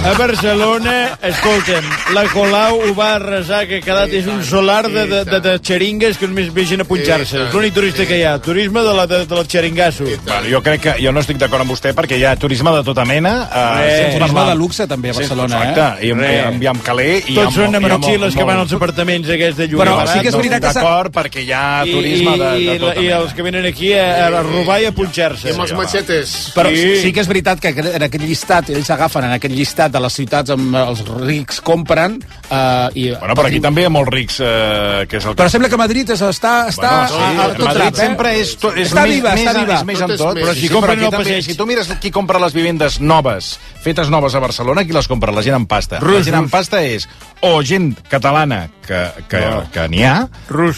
[SPEAKER 19] a Barcelona, escolta'm, la Colau ho va arrasar, que ha quedat és un solar de, de, de, de xeringues que només veixen a
[SPEAKER 20] I
[SPEAKER 19] punxar-se.
[SPEAKER 20] tant,
[SPEAKER 19] És l'únic turista que hi ha, turisme de la, de, de la xeringasso.
[SPEAKER 20] Bueno, jo crec que jo no estic d'acord amb vostè perquè hi ha turisme de tota mena. Eh,
[SPEAKER 38] Eh,
[SPEAKER 20] sense
[SPEAKER 38] turisme
[SPEAKER 20] parlar-
[SPEAKER 38] de luxe, també, a
[SPEAKER 20] Sí,
[SPEAKER 38] Barcelona,
[SPEAKER 20] exacte,
[SPEAKER 38] eh?
[SPEAKER 20] i amb,
[SPEAKER 38] Re.
[SPEAKER 20] i amb, i amb caler... I
[SPEAKER 19] Tots són
[SPEAKER 20] amb,
[SPEAKER 19] amb motxilles que van als apartaments aquests de lloguer
[SPEAKER 20] Però
[SPEAKER 19] barat,
[SPEAKER 20] sí que és
[SPEAKER 19] no?
[SPEAKER 20] veritat que s'ha- D'acord, perquè hi ha turisme de- de
[SPEAKER 19] I,
[SPEAKER 20] tota
[SPEAKER 19] i, i
[SPEAKER 20] mena.
[SPEAKER 19] els que venen aquí a, a robar i Eh, a punxar-se.
[SPEAKER 38] I amb els
[SPEAKER 19] Sí, home.
[SPEAKER 38] Però sí. sí que és veritat que en aquest llistat, ells agafen en aquest llistat de les ciutats amb els rics compren... Eh, i
[SPEAKER 20] Bueno, però aquí també hi ha molts rics, eh, que és el que...
[SPEAKER 38] Però sembla que Madrid és, està, està
[SPEAKER 20] Bueno, sí,
[SPEAKER 38] a, a tot
[SPEAKER 20] Madrid
[SPEAKER 38] drap, eh?
[SPEAKER 20] sempre és to- és
[SPEAKER 38] està
[SPEAKER 20] més-
[SPEAKER 38] viva,
[SPEAKER 20] més-
[SPEAKER 38] està viva.
[SPEAKER 20] és més en tot, però si
[SPEAKER 38] Sí,
[SPEAKER 20] compren
[SPEAKER 38] aquí
[SPEAKER 20] al
[SPEAKER 38] també-
[SPEAKER 20] passeig, si tu mires qui compra les vivendes noves, fetes noves a Barcelona, qui les compra? La gent amb pasta. La
[SPEAKER 38] Russos.
[SPEAKER 20] gent amb pasta és o gent catalana, que, que,
[SPEAKER 23] Ah.
[SPEAKER 20] que n'hi ha,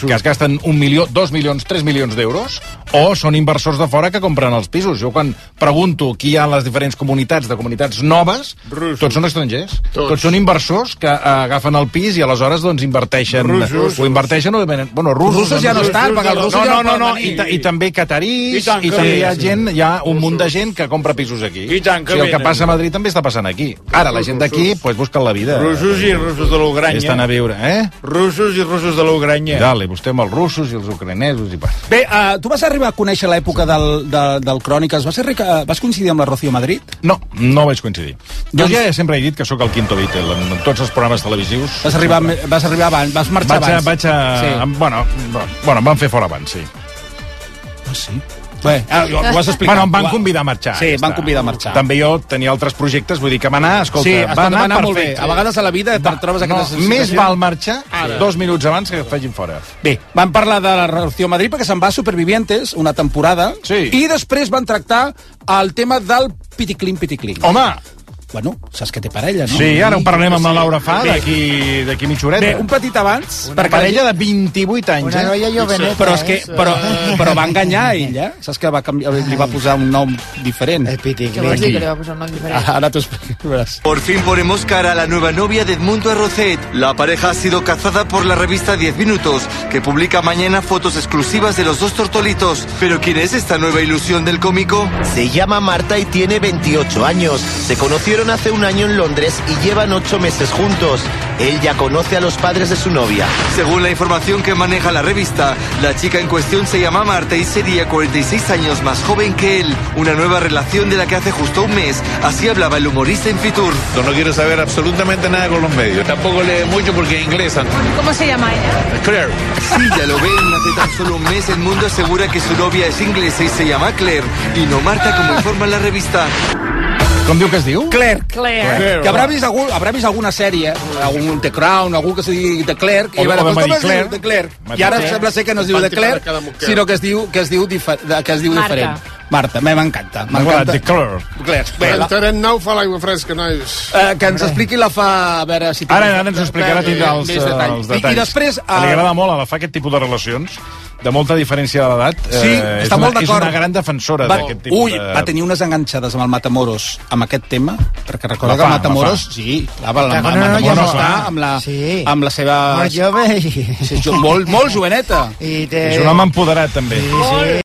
[SPEAKER 20] que es gasten un milió, dos milions, tres milions d'euros, o són inversors de fora que compren els pisos. Jo quan pregunto qui hi ha a les diferents comunitats, de comunitats noves, tots són estrangers. Tots, són inversors que eh, agafen el pis i aleshores doncs inverteixen...
[SPEAKER 38] Russos.
[SPEAKER 20] Ho inverteixen o venen... Bueno, russos...
[SPEAKER 38] Russos ja no estan, perquè els russos
[SPEAKER 20] no,
[SPEAKER 38] ja
[SPEAKER 20] no, no,
[SPEAKER 38] no poden
[SPEAKER 20] no,
[SPEAKER 38] venir.
[SPEAKER 20] i, ta- i també catarís,
[SPEAKER 38] I tant que
[SPEAKER 20] i també
[SPEAKER 38] sí,
[SPEAKER 20] hi ha
[SPEAKER 38] sí.
[SPEAKER 20] gent, hi ha un munt de gent que compra pisos aquí. I tant
[SPEAKER 19] que
[SPEAKER 20] o sigui, el que
[SPEAKER 19] venen.
[SPEAKER 20] passa a Madrid també està passant aquí. Ara, la gent d'aquí pues, busca la vida.
[SPEAKER 19] Russos i russos de l'Ugranya.
[SPEAKER 20] Estan a viure, eh?
[SPEAKER 19] Russos i russos de l'Ugranya.
[SPEAKER 20] Dale, vostè amb els russos i els ucranesos i... per-
[SPEAKER 38] Bé, uh, tu vas arribar a conèixer l'època del, del, del Cròniques. Vas, ser, rica- eh, vas coincidir amb la Rocío Madrid?
[SPEAKER 20] No, no vaig coincidir. Jo
[SPEAKER 38] Doncs-
[SPEAKER 20] ja sempre he dit que sóc el quinto Beatle en tots els programes televisius.
[SPEAKER 38] Vas arribar, vas arribar abans, vas marxar
[SPEAKER 20] vaig a,
[SPEAKER 38] abans.
[SPEAKER 20] Vaig a... Sí. Bueno, bueno, em van fer fora abans, sí.
[SPEAKER 38] Ah, sí?
[SPEAKER 20] Bé,
[SPEAKER 38] ho has explicat.
[SPEAKER 20] Bueno, em van
[SPEAKER 38] Ho ha-
[SPEAKER 20] convidar a marxar.
[SPEAKER 38] Sí,
[SPEAKER 20] ja
[SPEAKER 38] em van
[SPEAKER 20] està.
[SPEAKER 38] convidar a marxar.
[SPEAKER 20] També jo tenia altres projectes, vull dir que va anar, escolta,
[SPEAKER 38] Sí,
[SPEAKER 20] va
[SPEAKER 38] escolta,
[SPEAKER 20] anar,
[SPEAKER 38] va anar molt bé.
[SPEAKER 20] perfecte.
[SPEAKER 38] A vegades a la vida te'n trobes aquestes
[SPEAKER 20] no, més
[SPEAKER 38] situacions.
[SPEAKER 20] val marxar
[SPEAKER 38] Ara.
[SPEAKER 20] dos minuts abans que et facin fora.
[SPEAKER 38] Bé, van parlar de la Revolució Madrid perquè se'n va a Supervivientes una temporada sí. i després van tractar el tema del piticlin piticlin.
[SPEAKER 20] Home!
[SPEAKER 38] Bueno, saps que té parella, no?
[SPEAKER 20] Sí, ara ho parlem amb la Laura Fa
[SPEAKER 38] Bé,
[SPEAKER 20] d'aquí d'aquí mitja horeta.
[SPEAKER 38] Bé, un petit abans...
[SPEAKER 20] Una parella de 28 anys,
[SPEAKER 27] Una noia joveneta,
[SPEAKER 38] eh? Però, és que,
[SPEAKER 27] eh?
[SPEAKER 38] però, però va enganyar a ella. Saps que va canviar, li va posar un nom diferent. El
[SPEAKER 27] piticlin.
[SPEAKER 49] Què vols dir que li va posar un nom diferent?
[SPEAKER 38] Ara t'ho explicaràs.
[SPEAKER 33] Por fin ponemos cara a la nueva novia de Edmundo Arrocet. La pareja ha sido cazada por la revista 10 Minutos, que publica mañana fotos exclusivas de los dos tortolitos. Pero ¿quién es esta nueva ilusión del cómico?
[SPEAKER 26] Se llama Marta y tiene 28 años. Se conocieron hace un año en Londres y llevan 8 meses juntos. Él ya conoce a los padres de su novia.
[SPEAKER 33] Según la información que maneja la revista, la chica en cuestión se llama Marta y sería 46 años más joven que él. Una nueva relación de la que hace justo un mes. Así hablaba el humorista en Fitur.
[SPEAKER 50] No quiero saber absolutamente nada con los medios. Tampoco lee mucho porque inglesan.
[SPEAKER 35] ¿Cómo se llama ella?
[SPEAKER 50] Claire.
[SPEAKER 33] Sí, ya lo ven, hace tan solo un mes el mundo asegura que su novia es inglesa y se llama Claire, y no Marta como informa la revista.
[SPEAKER 20] Com diu que es diu?
[SPEAKER 38] Claire.
[SPEAKER 33] Claire.
[SPEAKER 38] Que haurà vist, algú, haurà vist alguna sèrie, algun The Crown, algú que se digui The Clerk,
[SPEAKER 20] O-
[SPEAKER 38] i va
[SPEAKER 20] o de
[SPEAKER 38] dir,
[SPEAKER 20] Marie
[SPEAKER 38] com es
[SPEAKER 20] Claire.
[SPEAKER 38] diu The Clerk?
[SPEAKER 20] Marie
[SPEAKER 38] I ara
[SPEAKER 20] Claire.
[SPEAKER 38] sembla ser que no es diu The
[SPEAKER 20] Van tirar
[SPEAKER 38] Clerk,
[SPEAKER 20] cada moquer.
[SPEAKER 38] sinó que es diu, que es diu, difer, de- que es diu
[SPEAKER 35] Marta.
[SPEAKER 38] diferent. Marta, me m'encanta.
[SPEAKER 20] M'ha agradat
[SPEAKER 38] m'encanta.
[SPEAKER 20] The Clerk.
[SPEAKER 38] Clerk. Bé,
[SPEAKER 35] El
[SPEAKER 38] la,
[SPEAKER 35] terreny nou fa l'aigua fresca, nois.
[SPEAKER 38] eh, que ens expliqui la fa... A veure si... té
[SPEAKER 20] Ara,
[SPEAKER 38] més-
[SPEAKER 20] ara ens ho explicarà, tindrà els, eh,
[SPEAKER 38] més detall.
[SPEAKER 20] els
[SPEAKER 38] I,
[SPEAKER 20] detalls.
[SPEAKER 38] I després... eh,
[SPEAKER 20] Que Li agrada molt a la fa aquest tipus de relacions, de molta diferència de l'edat. eh,
[SPEAKER 38] Sí,
[SPEAKER 20] és
[SPEAKER 38] està
[SPEAKER 20] una,
[SPEAKER 38] molt d'acord.
[SPEAKER 20] És una gran defensora
[SPEAKER 38] va,
[SPEAKER 20] d'aquest tipus
[SPEAKER 38] ui,
[SPEAKER 20] de...
[SPEAKER 38] va tenir unes enganxades amb el Matamoros amb aquest tema, perquè recorda
[SPEAKER 20] La
[SPEAKER 38] que el
[SPEAKER 20] fa, la
[SPEAKER 38] Matamoros,
[SPEAKER 20] fa.
[SPEAKER 38] sí, clar, el
[SPEAKER 20] La fa, no, no,
[SPEAKER 38] Matamoros
[SPEAKER 20] ja no,
[SPEAKER 38] està
[SPEAKER 20] clar.
[SPEAKER 38] amb la,
[SPEAKER 20] Sí.
[SPEAKER 38] amb la seva...
[SPEAKER 20] Molt jove
[SPEAKER 27] i...
[SPEAKER 38] Sí, jo- molt, molt joveneta.
[SPEAKER 27] I té...
[SPEAKER 20] És un home empoderat, també.
[SPEAKER 27] Sí, sí.